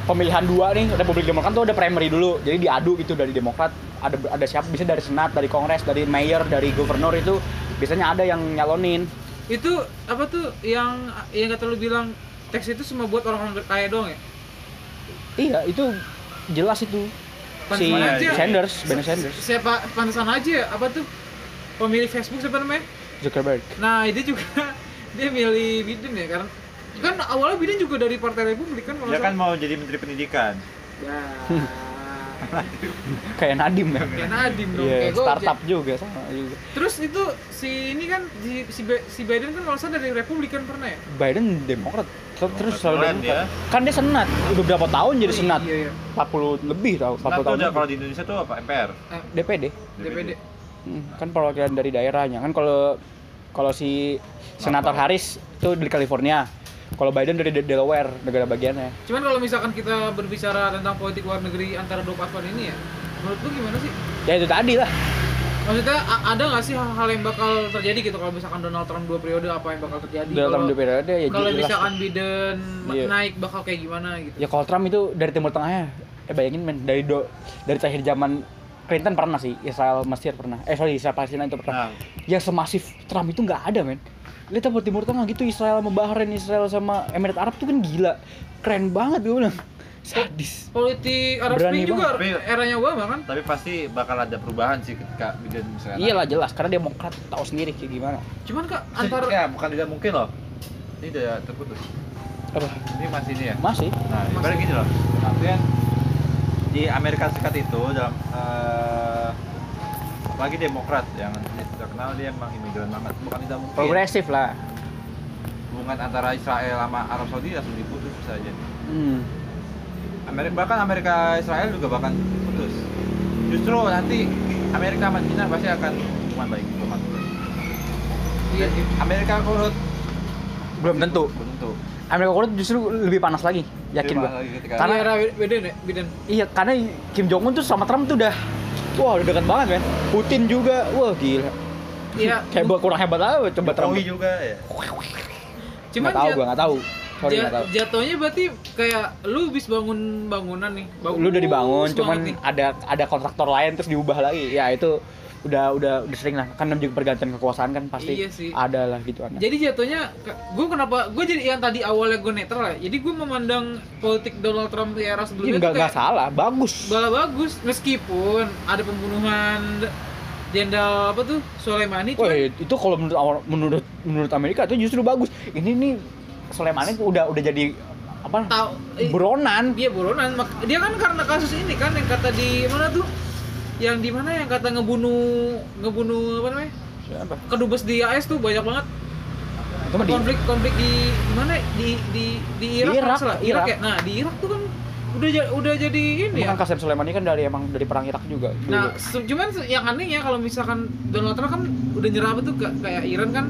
A: pemilihan dua nih Republik Demokrat tuh ada primary dulu. Jadi diadu gitu dari Demokrat ada ada siapa bisa dari Senat, dari Kongres, dari Mayor, dari Gubernur itu biasanya ada yang nyalonin.
B: itu apa tuh yang yang kata lu bilang teks itu semua buat orang-orang kaya doang ya
A: Iya, itu jelas itu. Si
B: Pantesan aja.
A: Sanders, Ben
B: Si-
A: Sanders,
B: siapa pantesan aja ya, apa tuh pemilik Facebook siapa namanya
A: Zuckerberg.
B: nah dia juga dia milih Biden ya karena kan awalnya Biden juga dari Partai Republik kan
A: Ya
B: kalau
C: Dia kan
B: nggak Ya,
C: mau jadi menteri pendidikan.
B: salah.
A: Kayak Nadim ya.
B: ya kayak Nadim dong
A: Iya,
B: kayak Gojek.
A: startup juga sama juga.
B: terus itu si ini kan si, si Ba- si Biden kan kalau nggak salah dari Republik kan pernah ya
A: Biden Demokrat ter- terus
C: Demokrat
A: selalu
C: keren
A: Demokrat. Kan dia senat, udah berapa tahun jadi
B: Oh,
A: senat?
B: iya, iya.
A: 40 lebih tau, 40
C: Nah, tuh
A: tahun.
C: udah
A: lebih.
C: kalau di Indonesia tuh apa? MPR.
B: Eh,
A: DPD.
B: DPD
A: Hmm, kan perwakilan dari daerahnya. Kan kalau kalau si senator Harris itu dari California. Kalau Biden dari De- Delaware, negara bagiannya.
B: Cuman kalau misalkan kita berbicara tentang politik luar negeri antara dua paslon ini ya, menurut lu gimana sih?
A: Ya itu tadi lah.
B: Maksudnya a- ada nggak sih hal-hal yang bakal terjadi gitu kalau misalkan Donald Trump dua periode apa yang bakal terjadi?
A: Dalam
B: Kalau-
A: tahun DPD ya
B: Kalau
A: jelas.
B: misalkan Biden
A: Iya.
B: naik bakal kayak gimana gitu?
A: Ya kalau Trump itu dari Timur Tengahnya, eh bayangin men dari do dari terakhir zaman Clinton pernah sih Israel Mesir pernah, eh sorry Israel Palestina itu pernah.
C: Nah.
A: Yang semasif Trump itu nggak ada men. Lihat apa Timur Tengah gitu Israel sama Bahrain, Israel sama Emirat Arab tuh kan gila, keren banget gue bilang, sadis.
B: Politik Arab
A: Berani
B: Spring juga
C: banget.
B: eranya Obama kan?
C: Tapi pasti bakal ada perubahan sih ketika Biden misalnya.
A: Iyalah jelas karena Demokrat tahu sendiri kayak gimana.
B: Cuman kak
A: Iya.
C: Antar...
B: antara
C: Ya, bukan tidak mungkin loh. Ini udah terputus.
A: Apa?
C: Ini masih ini ya.
A: Masih?
C: Nah,
B: Masih.
C: ibarat gini loh. Artian di Amerika Serikat itu dalam eh, apalagi Demokrat yang terkenal dia emang imigran banget. Bukan tidak mungkin.
A: Progresif lah.
C: Hubungan antara Israel sama Arab Saudi langsung diputus saja.
A: Hmm.
C: Amerika bahkan Amerika Israel juga bahkan putus. Justru nanti Amerika sama China pasti akan hubungan baik hubungan.
B: iya,
C: Dan Amerika kurut
A: Belum tentu.
C: belum tentu.
A: Amerika Korut justru lebih panas lagi, yakin
C: Dia
A: gue.
C: malah gitu kan. Iya. lagi ketika-
A: Karena-
B: era Biden ya Biden.
A: Iya, karena Kim Jong Un tuh sama Trump tuh udah wah udah dekat banget kan. Putin juga, wah gila.
B: Iya.
A: Kayak buat kurang hebat lah coba Trump.
C: Jokowi juga ya.
A: Cuman
B: Cuman
A: tahu
B: jat-
A: gua nggak tahu. Sorry
B: jat-
A: nggak tahu.
B: jatuhnya berarti kayak lu bis bangun bangunan nih.
A: Lu udah dibangun,
B: Bagus
A: cuman
B: banget nih.
A: ada ada kontraktor lain terus diubah lagi. Ya itu udah udah udah sering lah kan namanya juga pergantian kekuasaan kan pasti
B: Iya sih.
A: ada lah gitu anak.
B: Jadi jatuhnya, gue kenapa, gue jadi yang tadi awalnya gue netral ya, jadi gue memandang politik Donald Trump di era
A: Iya,
B: sebelumnya
A: nggak
B: tuh
A: nggak
B: kayak
A: salah, bagus.
B: bala bagus, meskipun ada pembunuhan Jenderal apa tuh, Soleimani
A: Wah,
B: cuman
A: itu kalau menurut awal- menurut menurut Amerika itu justru bagus. Ini nih Soleimani tuh udah udah jadi apa?
B: tahu eh,
A: Buronan.
B: dia buronan, Mak- dia kan karena kasus ini kan yang kata di mana tuh, yang di mana yang kata ngebunuh ngebunuh apa namanya
A: Siapa?
B: kedubes di AS tuh banyak banget
A: Itu mah di-
B: konflik konflik di di mana di di di
A: Irak,
B: Irak, kalau nggak salah. Irak,
A: Irak.
B: ya nah di Irak tuh kan udah ja- udah jadi ini ya
A: Emang kan Qasem Soleimani kan dari emang dari perang Irak juga. dulu.
B: Nah, se- cuman se- yang anehnya kalau misalkan Donald Trump kan udah nyerang apa tuh ke- kayak Iran kan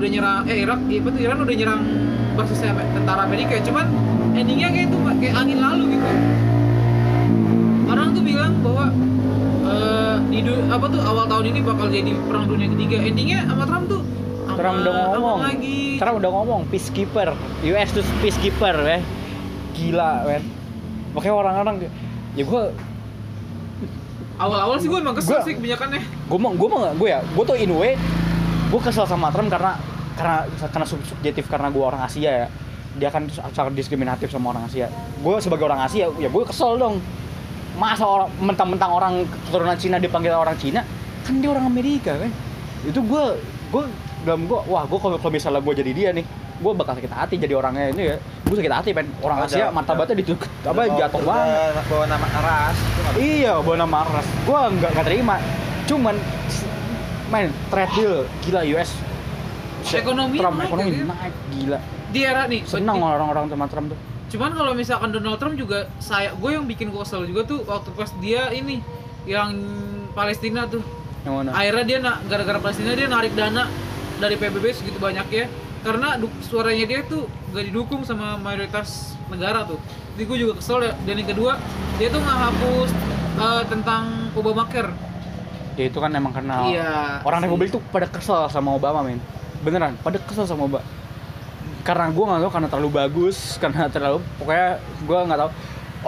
B: udah nyerang eh Irak iya, apa tuh Iran udah nyerang basisnya Am- tentara Amerika ya, cuman endingnya kayak itu Pak, kayak angin lalu gitu. Orang tuh bilang bahwa eh, di du- apa tuh awal tahun ini bakal jadi perang dunia ketiga. Endingnya sama Trump tuh sama-
A: Trump udah
B: sama
A: ngomong.
B: lagi.
A: Trump udah ngomong peacekeeper. US tuh peacekeeper, weh. Gila, weh. Makanya orang-orang ya gua
B: Awal-awal sih gue emang kesel
A: Gua-
B: sih kebanyakannya.
A: gue mau gue mau nggak gue ya gue tuh in a way gue kesel sama Trump karena karena karena sub- subjektif karena gue orang Asia ya dia kan sangat diskriminatif sama orang Asia gue sebagai orang Asia ya gue kesel dong masa orang mentang-mentang orang keturunan Cina dipanggil orang Cina kan dia orang Amerika kan itu gue gue dalam gue wah gue kalau kalau misalnya gue jadi dia nih gue bakal sakit hati jadi orangnya ini ya gue sakit hati pengen orang
C: Ada-
A: Asia martabatnya dituk apa
C: Udah bawa-
A: jatuh
C: udah
A: banget
C: Bawa nama ras. itu nggak
A: Iya, Bona Maras. Gua nggak nggak terima. Cuman s- main trade deal gila US. Se-
B: Ekonomi
A: Trump,
B: naik,
A: ekonomi
B: ya,
A: naik gila.
B: Di era nih
A: Senang
B: di-
A: orang-orang sama Trump tuh.
B: Cuman kalau misalkan Donald Trump juga saya gue yang bikin gue kesel juga tuh waktu pas dia ini yang Palestina tuh.
A: Yang mana?
B: Akhirnya dia na- gara-gara Palestina dia narik dana dari PBB segitu banyaknya karena du- suaranya dia tuh gak didukung sama mayoritas negara tuh jadi gue juga kesel ya. dan yang kedua dia tuh nggak hapus eh, tentang Obamacare
A: ya itu kan emang karena
B: Iya,
A: orang
B: sih.
A: Republik tuh pada kesel sama Obama men beneran pada kesel sama Obama karena gue nggak tahu karena terlalu bagus karena terlalu pokoknya gue nggak tahu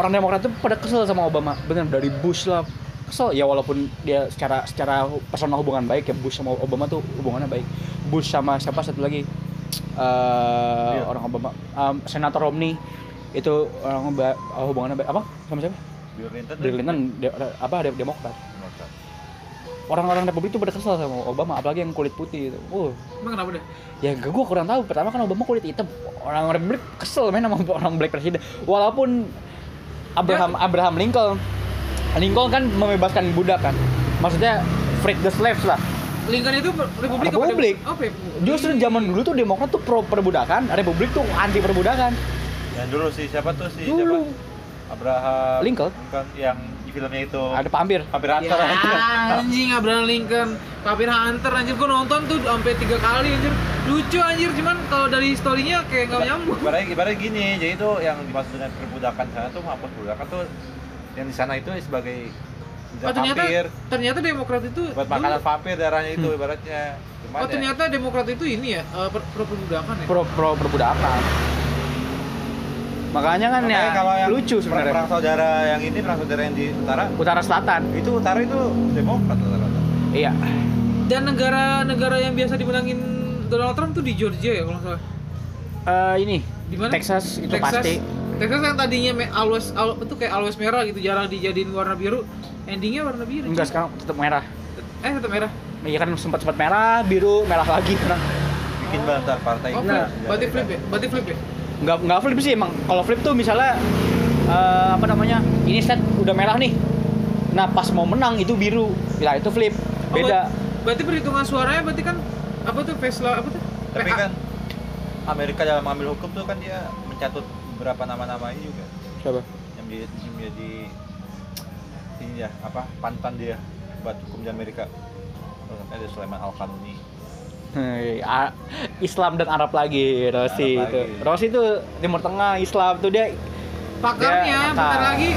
A: orang Demokrat tuh pada kesel sama Obama beneran dari Bush lah kesel ya walaupun dia secara secara personal hubungan baik ya Bush sama Obama tuh hubungannya baik Bush sama siapa satu lagi eh
C: Iya.
A: orang Obama Em, Senator Romney itu orang ba- hubungannya baik apa sama siapa
C: Bill Clinton
A: Bill Clinton de- apa de- Demokrat orang-orang Republik itu pada kesel sama Obama apalagi yang kulit putih itu uh
B: emang kenapa deh
A: ya gue kurang tahu pertama kan Obama kulit hitam orang Republik kesel main sama orang black presiden walaupun Abraham Abraham Lincoln Lincoln kan membebaskan budak kan maksudnya freed the slaves lah
B: Lincoln itu per- Republik apa
A: Republik.
B: Demo- apa ya?
A: justru zaman dulu tuh Demokrat tuh pro perbudakan Republik tuh anti perbudakan
C: Yang dulu sih siapa tuh sih?
A: dulu
C: Siapa? Abraham
A: Lincoln.
C: yang di filmnya itu
A: ada Iya. pampir
C: hampir
B: Ya,
C: antar
B: anjing Abraham Lincoln Papir Hunter anjir gue nonton tuh sampai tiga kali anjir lucu anjir cuman kalau dari historinya kayak nggak nyambung
C: Ibaratnya, ibaratnya gini, jadi itu yang dimaksud dengan perbudakan sana tuh menghapus perbudakan tuh yang di sana itu sebagai
B: oh,
C: senjata
B: ternyata
C: vampir,
B: ternyata Demokrat itu
C: buat
B: dulu- Hmm.
C: makanan vampir darahnya itu ibaratnya. Cuman
B: oh
C: ya,
B: ternyata Demokrat itu ini ya eh, per, pro perbudakan ya
A: pro pro perbudakan makanya kan
C: makanya kalau
A: ya
C: yang
A: lucu
C: perang- Perang
A: sebenarnya
C: saudara yang ini, perang saudara yang di utara,
A: utara selatan
C: itu utara itu demokrat rata-rata.
A: iya
B: dan negara-negara yang biasa dimenangin Donald Trump tuh di Georgia ya kalau nggak salah
A: Eh, ini
B: di mana
A: Texas itu
B: Texas.
A: pasti
B: Texas yang tadinya me- always al- itu kayak always merah gitu jarang dijadiin warna biru endingnya warna biru
A: enggak sekarang tetap merah
B: eh tetap merah
A: iya kan sempat sempat merah biru merah lagi Nah, sekarang
C: Bikin banget ntar partai
B: oh
C: itu.
B: flip berarti flip ya berarti flip ya
A: nggak nggak flip sih emang kalau flip tuh misalnya eh, apa namanya ini set udah merah nih nah pas mau menang itu biru ya itu flip
B: Oh,
A: beda
B: ber- berarti perhitungan suaranya berarti kan apa tuh Vesla apa tuh? ah,
C: Tapi
B: PA.
C: kan Amerika dalam mengambil hukum tuh kan dia mencatut beberapa nama-nama ini juga
A: coba
C: yang menjadi, yang menjadi ini ya apa pantan dia buat hukum di Amerika. Terus Ada Sulaiman Al
A: Iya,
C: Kanuni.
A: Hei, A- Islam dan Arab lagi Rossi
C: Arab
A: itu
C: lagi.
A: Rossi itu Timur Tengah Islam tuh dia
B: pakarnya
A: Dia
B: bentar
A: pakar.
B: lagi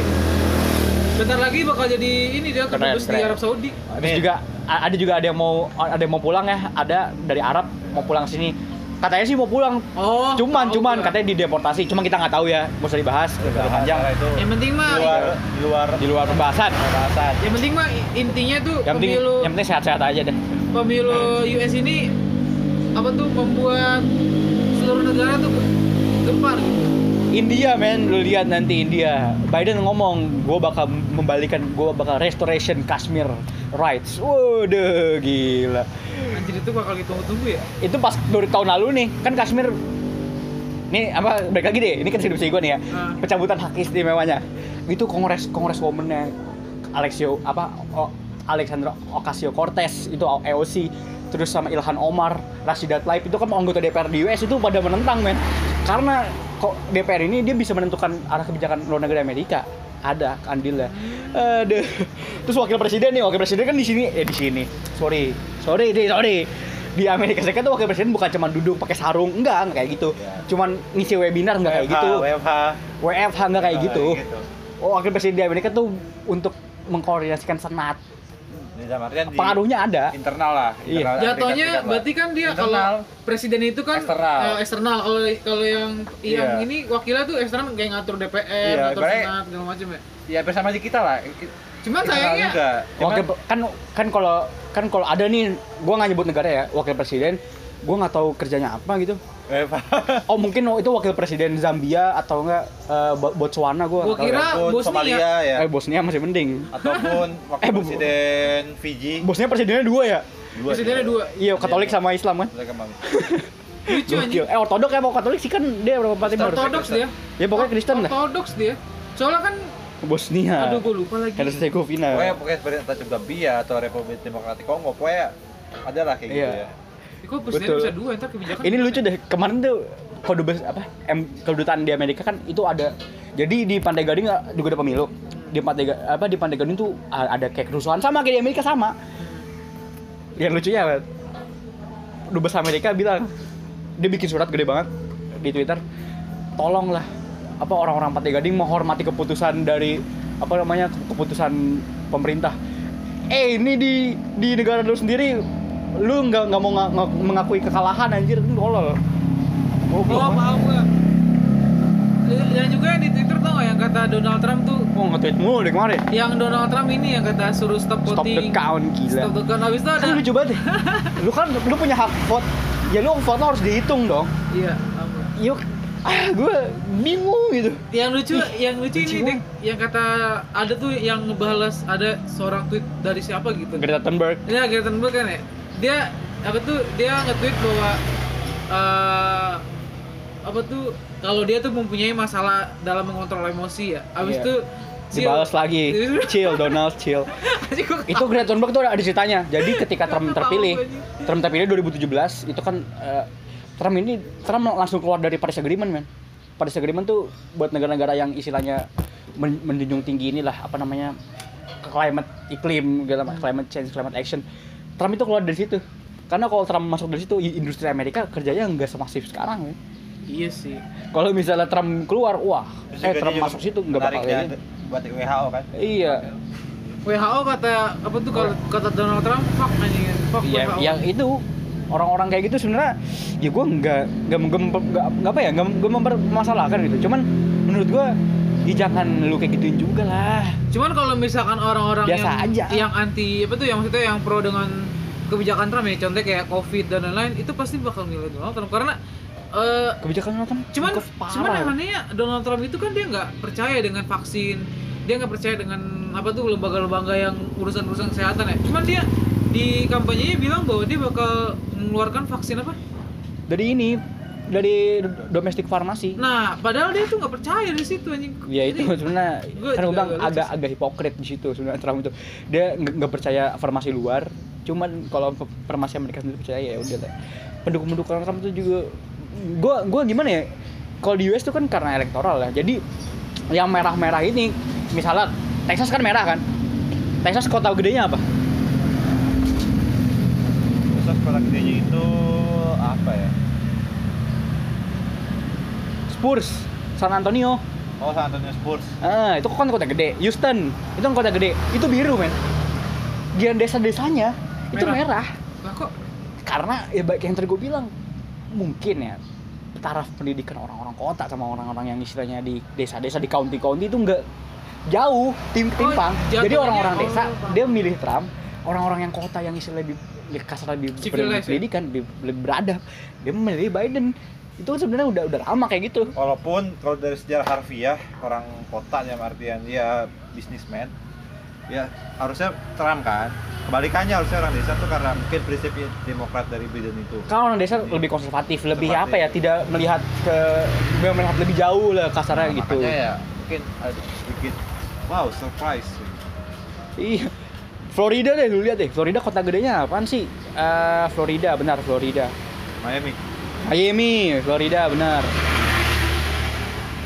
B: bentar lagi bakal jadi ini dia
A: Keren,
B: kedubes di
A: keren.
B: Arab Saudi
A: Terus
C: Amin.
A: juga a- ada juga ada yang mau ada yang mau pulang ya ada dari Arab mau pulang sini katanya sih mau pulang
B: oh Iya,
A: cuman
B: tahu
A: cuman
B: gua.
A: katanya dideportasi cuma kita nggak tahu ya nggak usah dibahas terlalu
C: Bahasa
A: panjang
C: itu
B: yang penting
C: di
B: mah
C: luar di luar
A: di luar pembahasan
C: pembahasan.
B: yang penting mah i- intinya tuh
A: yang penting
B: pemilu
A: yang penting sehat-sehat aja deh
B: pemilu US ini apa tuh membuat seluruh negara tuh gempar gitu
A: India men lu lihat nanti India Biden ngomong gue bakal membalikan gue bakal restoration Kashmir rights waduh gila
B: anjir itu bakal ditunggu-tunggu ya
A: itu pas dari tahun lalu nih kan Kashmir nih apa balik lagi deh ini kan skripsi gue nih ya
B: Hmm.
A: pencabutan hak istimewanya itu kongres kongres womannya Alexio apa O- Alexandra Ocasio Cortez itu AOC terus sama Ilhan Omar Rashidat Tlaib itu kan anggota DPR di US itu pada menentang men karena kok DPR ini dia bisa menentukan arah kebijakan luar negeri Amerika ada andilnya aduh terus wakil presiden nih wakil presiden kan di sini eh di sini sorry sorry di sorry di Amerika Serikat tuh wakil presiden bukan cuma duduk pakai sarung enggak enggak kayak gitu
C: Iya.
A: cuman ngisi webinar enggak kayak
C: WFH,
A: gitu
C: WFH.
A: WFH nggak kayak
C: Nah,
A: gitu. Oh, wakil presiden di Amerika tuh untuk mengkoordinasikan senat.
C: Di dalam artian di
A: Pengaruhnya ada.
C: internal lah.
A: Iya.
C: internal Amerika Serikat
B: Jatuhnya
C: lah.
B: berarti kan dia
C: Internal.
B: kalau presiden itu kan
C: Eksternal.
B: eh, eksternal. Kalau kalau yang yang
C: Iya.
B: ini wakilnya tuh eksternal kayak ngatur DPR,
C: Iya,
B: ngatur
C: ibaratnya-
B: senat segala macam ya.
C: ya hampir sama aja kita lah.
B: Cuman
C: Internal
B: sayangnya
C: juga. Cuman-
A: Wakil kan kan kalau kan kalau ada nih, gua nggak nyebut negara ya, wakil presiden, gua nggak tahu kerjanya apa gitu.
C: WFH.
A: Oh mungkin itu wakil presiden Zambia atau enggak eh, Bo- Botswana gua.
B: Gua
A: nggak tahu
B: kira-
A: ya.
C: ataupun
B: Bosnia.
C: Somalia ya
A: eh Bosnia masih mending.
C: ataupun wakil
A: Eh, bu-
C: presiden Fiji
A: Bosnia presidennya dua ya?
C: dua
B: presidennya dua.
A: Iya, Katolik sama Islam kan.
C: mereka mau
B: Lucu
A: Gokil.
B: anjing.
A: Eh ortodok ya mau Katolik sih kan dia berapa timur?
B: Ortodoks dia.
A: Ya pokoknya Kristen lah.
B: Ortodoks dia. Soalnya kan
C: Nah.
A: Bosnia. Kan
B: aduh gua lupa lagi.
A: Kalau Herzegovina.
C: pokoknya pokoknya seperti entah Jugambia atau Republik Demokratik Kongo pokoknya ada lah kayak gitu
A: Iya.
C: ya
B: Eh, Kok presiden
A: Betul.
B: bisa dua entar kebijakan.
A: ini lucu deh kemarin tuh kedubes apa em, kedutaan di Amerika kan itu ada jadi di Pantai Gading nggak juga ada pemilu di Pantai Ga- apa di Pantai Gading tuh a- ada kayak kerusuhan sama kayak di Amerika sama yang lucunya apa? dubes Amerika bilang dia bikin surat gede banget di Twitter. Tolonglah apa orang-orang Pantai Gading menghormati keputusan dari apa namanya ke- keputusan pemerintah. Eh ini di di negara lu sendiri lu nggak nggak mau nga- nga- mengakui kekalahan anjir lu tolol.
B: Oh,
A: Goblok.
B: paham gua. Dan juga Eh, yang di Twitter tau nggak yang kata Donald Trump tuh
A: Mau nge-tweet mulu dari kemarin.
B: yang Donald Trump ini yang kata suruh stop
A: Stop the
B: voting.
A: count gila.
B: Stop the count. Habis itu ada
A: Kan lucu banget deh. Lu kan lu punya hak vote. Ya lu vote harus dihitung dong.
B: Iya, ampun.
A: Yuk. Ah, gue bingung gitu.
B: Yang lucu, yang lucu
A: lucu
B: ini Dik. yang kata ada tuh yang ngebalas ada seorang tweet dari siapa gitu.
A: Greta Thunberg.
B: Ya Greta Thunberg kan ya. Dia apa tuh dia nge-tweet bahwa eh, apa tuh kalau dia tuh mempunyai masalah dalam mengontrol emosi ya. Abis
A: Iya.
B: Iya itu
A: Dibalas lagi. chill, Donald, chill. Itu Greta Thunberg tuh ada ada ceritanya. Jadi ketika Trump terpilih, Trump terpilih 2017, itu kan eh, Trump ini Trump langsung keluar dari Paris Agreement, men. Paris Agreement tuh buat negara-negara yang istilahnya men- menjunjung tinggi inilah apa namanya climate iklim segala macam, climate change climate action Trump itu keluar dari situ karena kalau Trump masuk dari situ i- industri Amerika kerjanya nggak semasif sekarang men.
B: Iya sih.
A: kalau misalnya Trump keluar wah
C: Terus
A: eh
C: juga
A: Trump
C: dia
A: masuk situ nggak bakal
C: menarik kan?
A: kayak
C: dia
A: gini.
C: buat WHO kan
A: iya
B: WHO kata apa tuh kalau kata Donald Trump fuck anjing fuck
A: ya,
B: WHO.
A: yang itu orang-orang kayak gitu sebenarnya ya gue nggak nggak nggak nggak nggak apa ya nggak nggak mempermasalahkan gitu cuman menurut gue ya jangan lu kayak gituin juga lah
B: Cuman kalau misalkan orang-orang yang
A: Biasa aja.
B: yang anti apa tuh yang maksudnya yang pro dengan kebijakan Trump ya contohnya kayak Covid dan lain-lain itu pasti bakal milih Donald Trump karena eh,
A: kebijakan lu kan
B: cuman
A: kef- parah.
B: cuman anehnya Donald Trump itu kan dia nggak percaya dengan vaksin dia nggak percaya dengan apa tuh lembaga-lembaga yang urusan-urusan kesehatan ya cuman dia di kampanyenya bilang bahwa dia bakal mengeluarkan vaksin apa
A: dari ini dari domestik farmasi
B: nah padahal dia tuh nggak percaya di situ anjing
A: ya itu
B: Jadi,
A: sebenarnya
B: Gua
A: kan
B: juga
A: gue bilang
B: agak lucu
A: agak agak hipokrit di situ sebenarnya Trump itu dia nggak nggak percaya farmasi luar cuman kalau f- farmasi Amerika sendiri percaya ya udah lah pendukung pendukung Trump itu juga gue gue gimana ya kalau di US itu kan karena elektoral ya jadi yang merah-merah ini misalnya Texas kan merah kan Texas kota gedenya apa
C: terus kota gedenya itu apa ya
A: Spurs San Antonio
C: oh San Antonio Spurs
A: Ah, itu kan kota gede. Houston, itu kan kota gede. Itu biru, men. Gian desa-desanya itu
B: Merah.
A: merah.
B: lah kok
A: Karena ya baik yang tadi gue bilang, mungkin ya taraf pendidikan orang-orang kota sama orang-orang yang istilahnya di desa-desa di county-county itu nggak jauh
C: Oh,
A: tim timpang.
B: jatuhnya
A: Jadi orang-orang
B: orang
A: desa
B: kota.
A: dia milih Trump, orang-orang yang kota yang istilahnya di, di kasar lebih
B: Civilized, ya?
A: pendidikan, lebih, lebih beradab, dia memilih Biden. Itu kan sebenarnya udah udah lama kayak gitu.
C: walaupun kalau dari sejarah harfiah orang kota yang artian dia bisnismen ya harusnya Trump kan kebalikannya harusnya orang desa tuh karena mungkin prinsip demokrat dari Biden itu
A: kalau orang desa lebih konservatif, lebih
C: Konservatif.
A: apa ya, tidak melihat ke nggak melihat lebih jauh lah kasarnya gitu.
C: makanya ya mungkin ada sedikit wow surprise
A: Iya. Florida deh lu lihat deh, Florida kota gedenya apaan sih? Eh, Florida benar Florida.
C: Miami
A: Miami, Florida benar.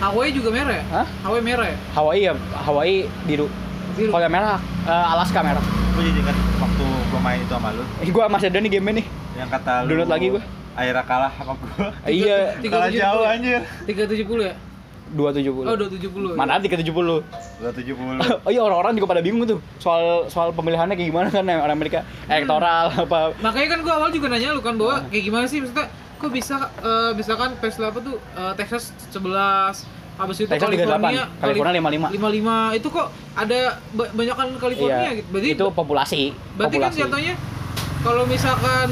B: Hawaii juga merah ya
A: Hah?
B: Hawaii merah ya
A: Hawaii ya, Hawaii biru.
B: Biru.
A: Kalau yang merah, eh, Alaska merah.
C: gue jadi ingat waktu gue main itu sama lu
A: Ih, gua masih ada nih game nih.
C: yang kata lu
A: Download lagi gua.
C: Akhirnya kalah sama gue
A: Iya,
B: Tiga
C: kalah
B: tujuh
C: jauh
B: puluh.
C: anjir
B: 370 ya?
A: 270.
B: Oh, 270.
A: Mana ada 370?
C: 270
A: oh iya orang-orang juga pada bingung tuh soal soal pemilihannya kayak gimana kan orang Amerika
B: Hmm.
A: elektoral apa
B: Makanya kan gua awal juga nanya lu kan bahwa kayak gimana sih maksudnya kok bisa eh, misalkan Tesla apa tuh eh, Texas 11 habis itu
A: Texas 38,
B: California
A: California 55.
B: 55. 55 itu kok ada ba- banyakan California gitu. Berarti
A: Iya, itu populasi.
B: berarti kan
A: populasi.
B: contohnya kalau misalkan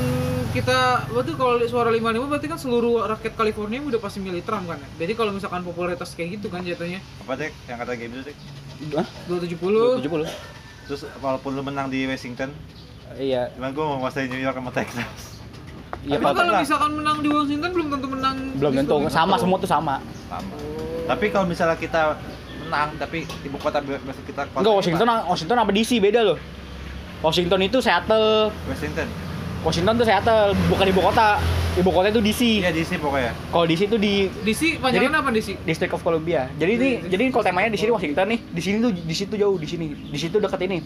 B: kita berarti kalau suara 55 berarti kan seluruh rakyat California udah pasti milih Trump kan ya. Jadi kalau misalkan popularitas kayak gitu kan jatuhnya
C: apa sih yang kata kayak gitu sih
A: Hah?
B: 270
A: 70.
C: terus walaupun lu menang di Washington
A: Iya,
C: cuman gue mau nguasain New York sama Texas
A: iya
B: Tapi kan
A: Pak.
B: kalau misalkan menang di Washington belum tentu menang
A: belum
B: di
A: tentu
B: seluruh-
A: sama semua tuh sama.
C: sama tapi kalau misalnya kita menang tapi ibu kota maksud kita kota
A: Enggak Washington
C: apa?
A: Washington apa DC beda loh. Washington itu Seattle,
C: Washington
A: Washington tuh Seattle, bukan ibu kota. Ibu kota itu DC.
C: iya di sini pokoknya
A: Kalau DC itu di
B: DC panjangan apa DC?
A: District of Columbia. Jadi ini
B: Di-
A: jadi kalau temanya di sini Washington nih, di sini tuh di situ jauh di sini. Di situ dekat ini.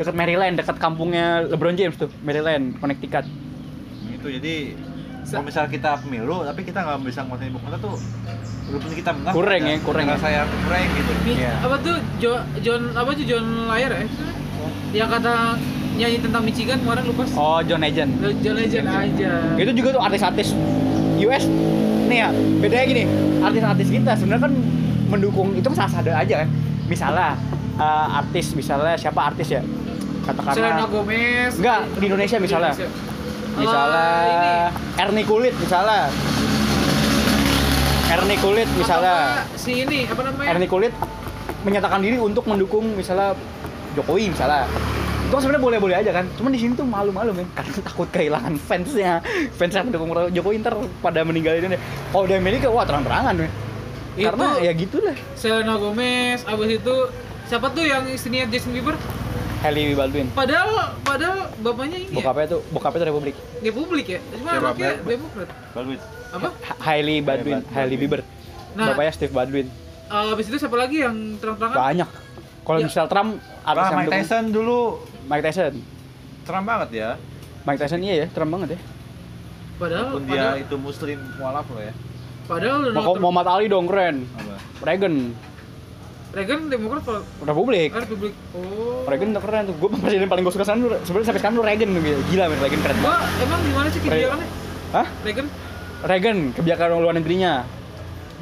A: Dekat Maryland, dekat kampungnya LeBron James tuh, Maryland, Connecticut.
C: itu Gitu, jadi kalau misalnya kita pemilu tapi kita nggak bisa nguasain ibu kota tuh walaupun kita menang
A: Kurang ya, kurang ya.
C: saya kurang gitu
B: Mi-
A: Iya.
B: apa tuh Jo- John apa tuh John Layer ya yang kata nyanyi tentang Michigan kemarin lupa oh.
A: Oh, Gitu, John Legend.
B: John Legend aja
A: itu juga tuh artis-artis US nih ya bedanya gini artis-artis kita sebenarnya kan mendukung itu kan sah-sah aja kan misalnya eh, artis misalnya siapa artis ya
B: Selena
A: katakanlah
B: Gomez
A: enggak di Indonesia misalnya
B: Indonesia.
A: misalnya
B: Ah, ini.
A: Ernie Kulit misalnya Ernie Kulit misalnya
B: Apa si ini apa namanya
A: Ernie Kulit menyatakan diri untuk mendukung misalnya Jokowi misalnya itu kan sebenarnya boleh-boleh aja kan cuman di sini tuh malu-malu men karena takut kehilangan fansnya fans yang mendukung Jokowi ntar pada meninggal ini kalau di Amerika wah terang-terangan men karena
B: Itu-
A: ya gitu lah
B: Selena Gomez abis itu siapa tuh yang istrinya Justin Bieber
A: Hailey Baldwin
B: padahal padahal bapaknya ini ya,
A: bokapnya tuh bokapnya tuh Republik
B: Republik ya cuma
C: Siapa?
B: anaknya
C: Bel-
B: Demokrat
C: bagus
B: apa
A: Ha- Hailey Baldwin
C: Baldwin.
A: Hailey Bieber
B: Nah.
A: bapaknya Steve Baldwin
B: Eh, abis itu siapa lagi yang terang-terangan
A: banyak kalau
B: Ya.
A: misal Trump artis
C: Nah,
A: yang
C: Mike
A: mendukung-
C: Tyson dulu
A: Mike Tyson
C: terang banget ya
A: Mike Tyson iya ya Trump banget ya
B: padahal
C: walaupun dia
B: padahal,
C: itu muslim mualaf loh ya
B: padahal Donald
A: Pokok
B: Trump-
A: Muhammad Ali dong keren
C: apa
A: Reagan
B: Reagan Demokrat apa
A: Republik
B: Ah, Republik oh
A: Reagan tuh keren tuh. Gue presiden paling gue suka sekarang tuh- sebenarnya sampai sekarang tuh Reagan tuh gila. Gila men Reagan keren banget.
B: Wah, emang gimana sih kebijakannya
A: Hah?
B: Reagan
A: Reagan kebijakan luar negerinya.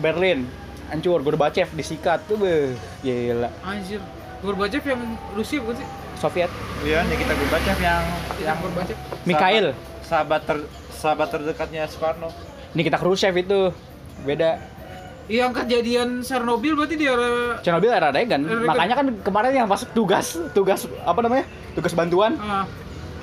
A: Berlin hancur, Gorbachev disikat tuh beuh. Gila.
B: anjir Gorbachev yang Rusia bukan sih
A: Soviet.
C: iya nih kita Gorbachev yang
A: Iya.
B: yang Gorbachev
A: Mikhail.
C: sahabat sahabat, ter- sahabat terdekatnya Soekarno
A: Nikita Khrushchev itu beda.
B: yang kejadian Iya, Chernobyl berarti dia
A: Chernobyl era Reagan.
B: Reagan.
A: Makanya kan kemarin yang masuk tugas, tugas apa namanya? Tugas bantuan.
B: ah,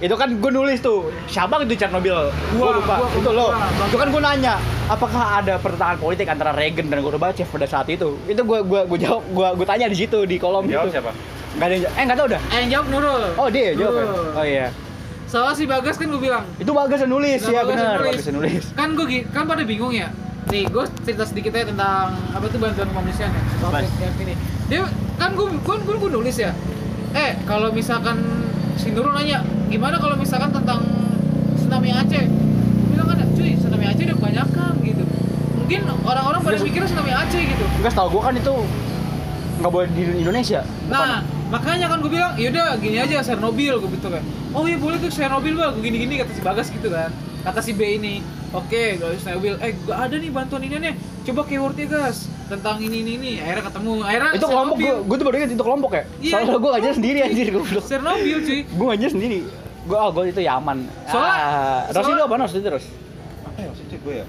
A: Itu kan gue nulis tuh, siapa itu Chernobyl? Gue
B: Wah,
A: lupa,
B: gua
A: itu lo.
B: lupa.
A: Itu kan gue nanya, apakah ada pertentangan politik antara Reagan dan Gorbachev pada saat itu? Itu gue gua, gua jawab, gue gua tanya di situ, di kolom
C: jawab
A: itu.
C: siapa
A: Gak ada yang jawab, eh gak tau dah.
B: eh, yang jawab Nurul
A: Oh dia yang jawab ya?
B: Nurul.
A: Oh iya.
B: soal si Bagas kan gue bilang
A: Itu Bagas yang nulis,
B: Nah,
A: ya
B: Bagas yang
A: benar.
B: nulis.
A: Bagas yang nulis.
B: kan gue kan pada bingung ya nih gue cerita sedikit aja tentang apa tuh bantuan kemanusiaan ya topik yang ini dia kan gue gue gue, gue nulis ya eh kalau misalkan si Nurul nanya gimana kalau misalkan tentang tsunami Aceh gue bilang kan cuy tsunami Aceh udah kebanyakan gitu mungkin orang-orang pada mikirnya tsunami Aceh gitu
A: Enggak tau gue kan itu nggak boleh di Indonesia.
B: Nah, makanya kan gue bilang, yaudah gini aja Chernobyl gue gitu kan. Oh iya boleh tuh Chernobyl bang, gue gini-gini kata si Bagas gitu kan. Kata si B ini, oke gue harus Chernobyl. Eh gak ada nih bantuan ini nih, coba keyword ya, gas tentang ini ini ini. Akhirnya ketemu, akhirnya
A: itu kelompok gue,
B: Chernobyl.
A: gue tuh baru ingat itu kelompok ya.
B: Kan Iya,
A: Soalnya gue ngajar
B: kelompok,
A: sendiri
B: cuy.
A: anjir gue
B: Chernobyl cuy.
A: Gue ngajar sendiri. Gue oh gue itu Yaman.
B: Soalnya-
A: ah, Rosi
B: soalnya-
A: lu apa Rosi terus?
C: apa ya maksudnya gue ya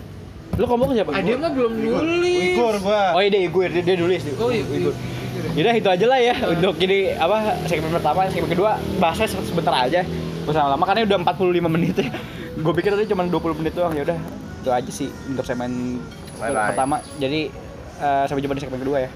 A: Lu kelompok siapa?
B: Ah dia mah belum
C: Uighur.
B: nulis.
C: Uighur gua
A: Oh iya deh, gue dia, dia nulis.
B: Oh iya,
A: Uighur.
B: Uighur. Uighur.
A: Yaudah itu aja lah ya untuk ini apa segmen pertama, segmen kedua bahasnya se- sebentar aja. Gak usah lama karena udah 45 menit ya. Gue pikir tadi cuma 20 menit doang. Yaudah itu aja sih untuk segmen
C: Bye-bye.
A: pertama. Jadi eh, sampai jumpa di segmen kedua ya.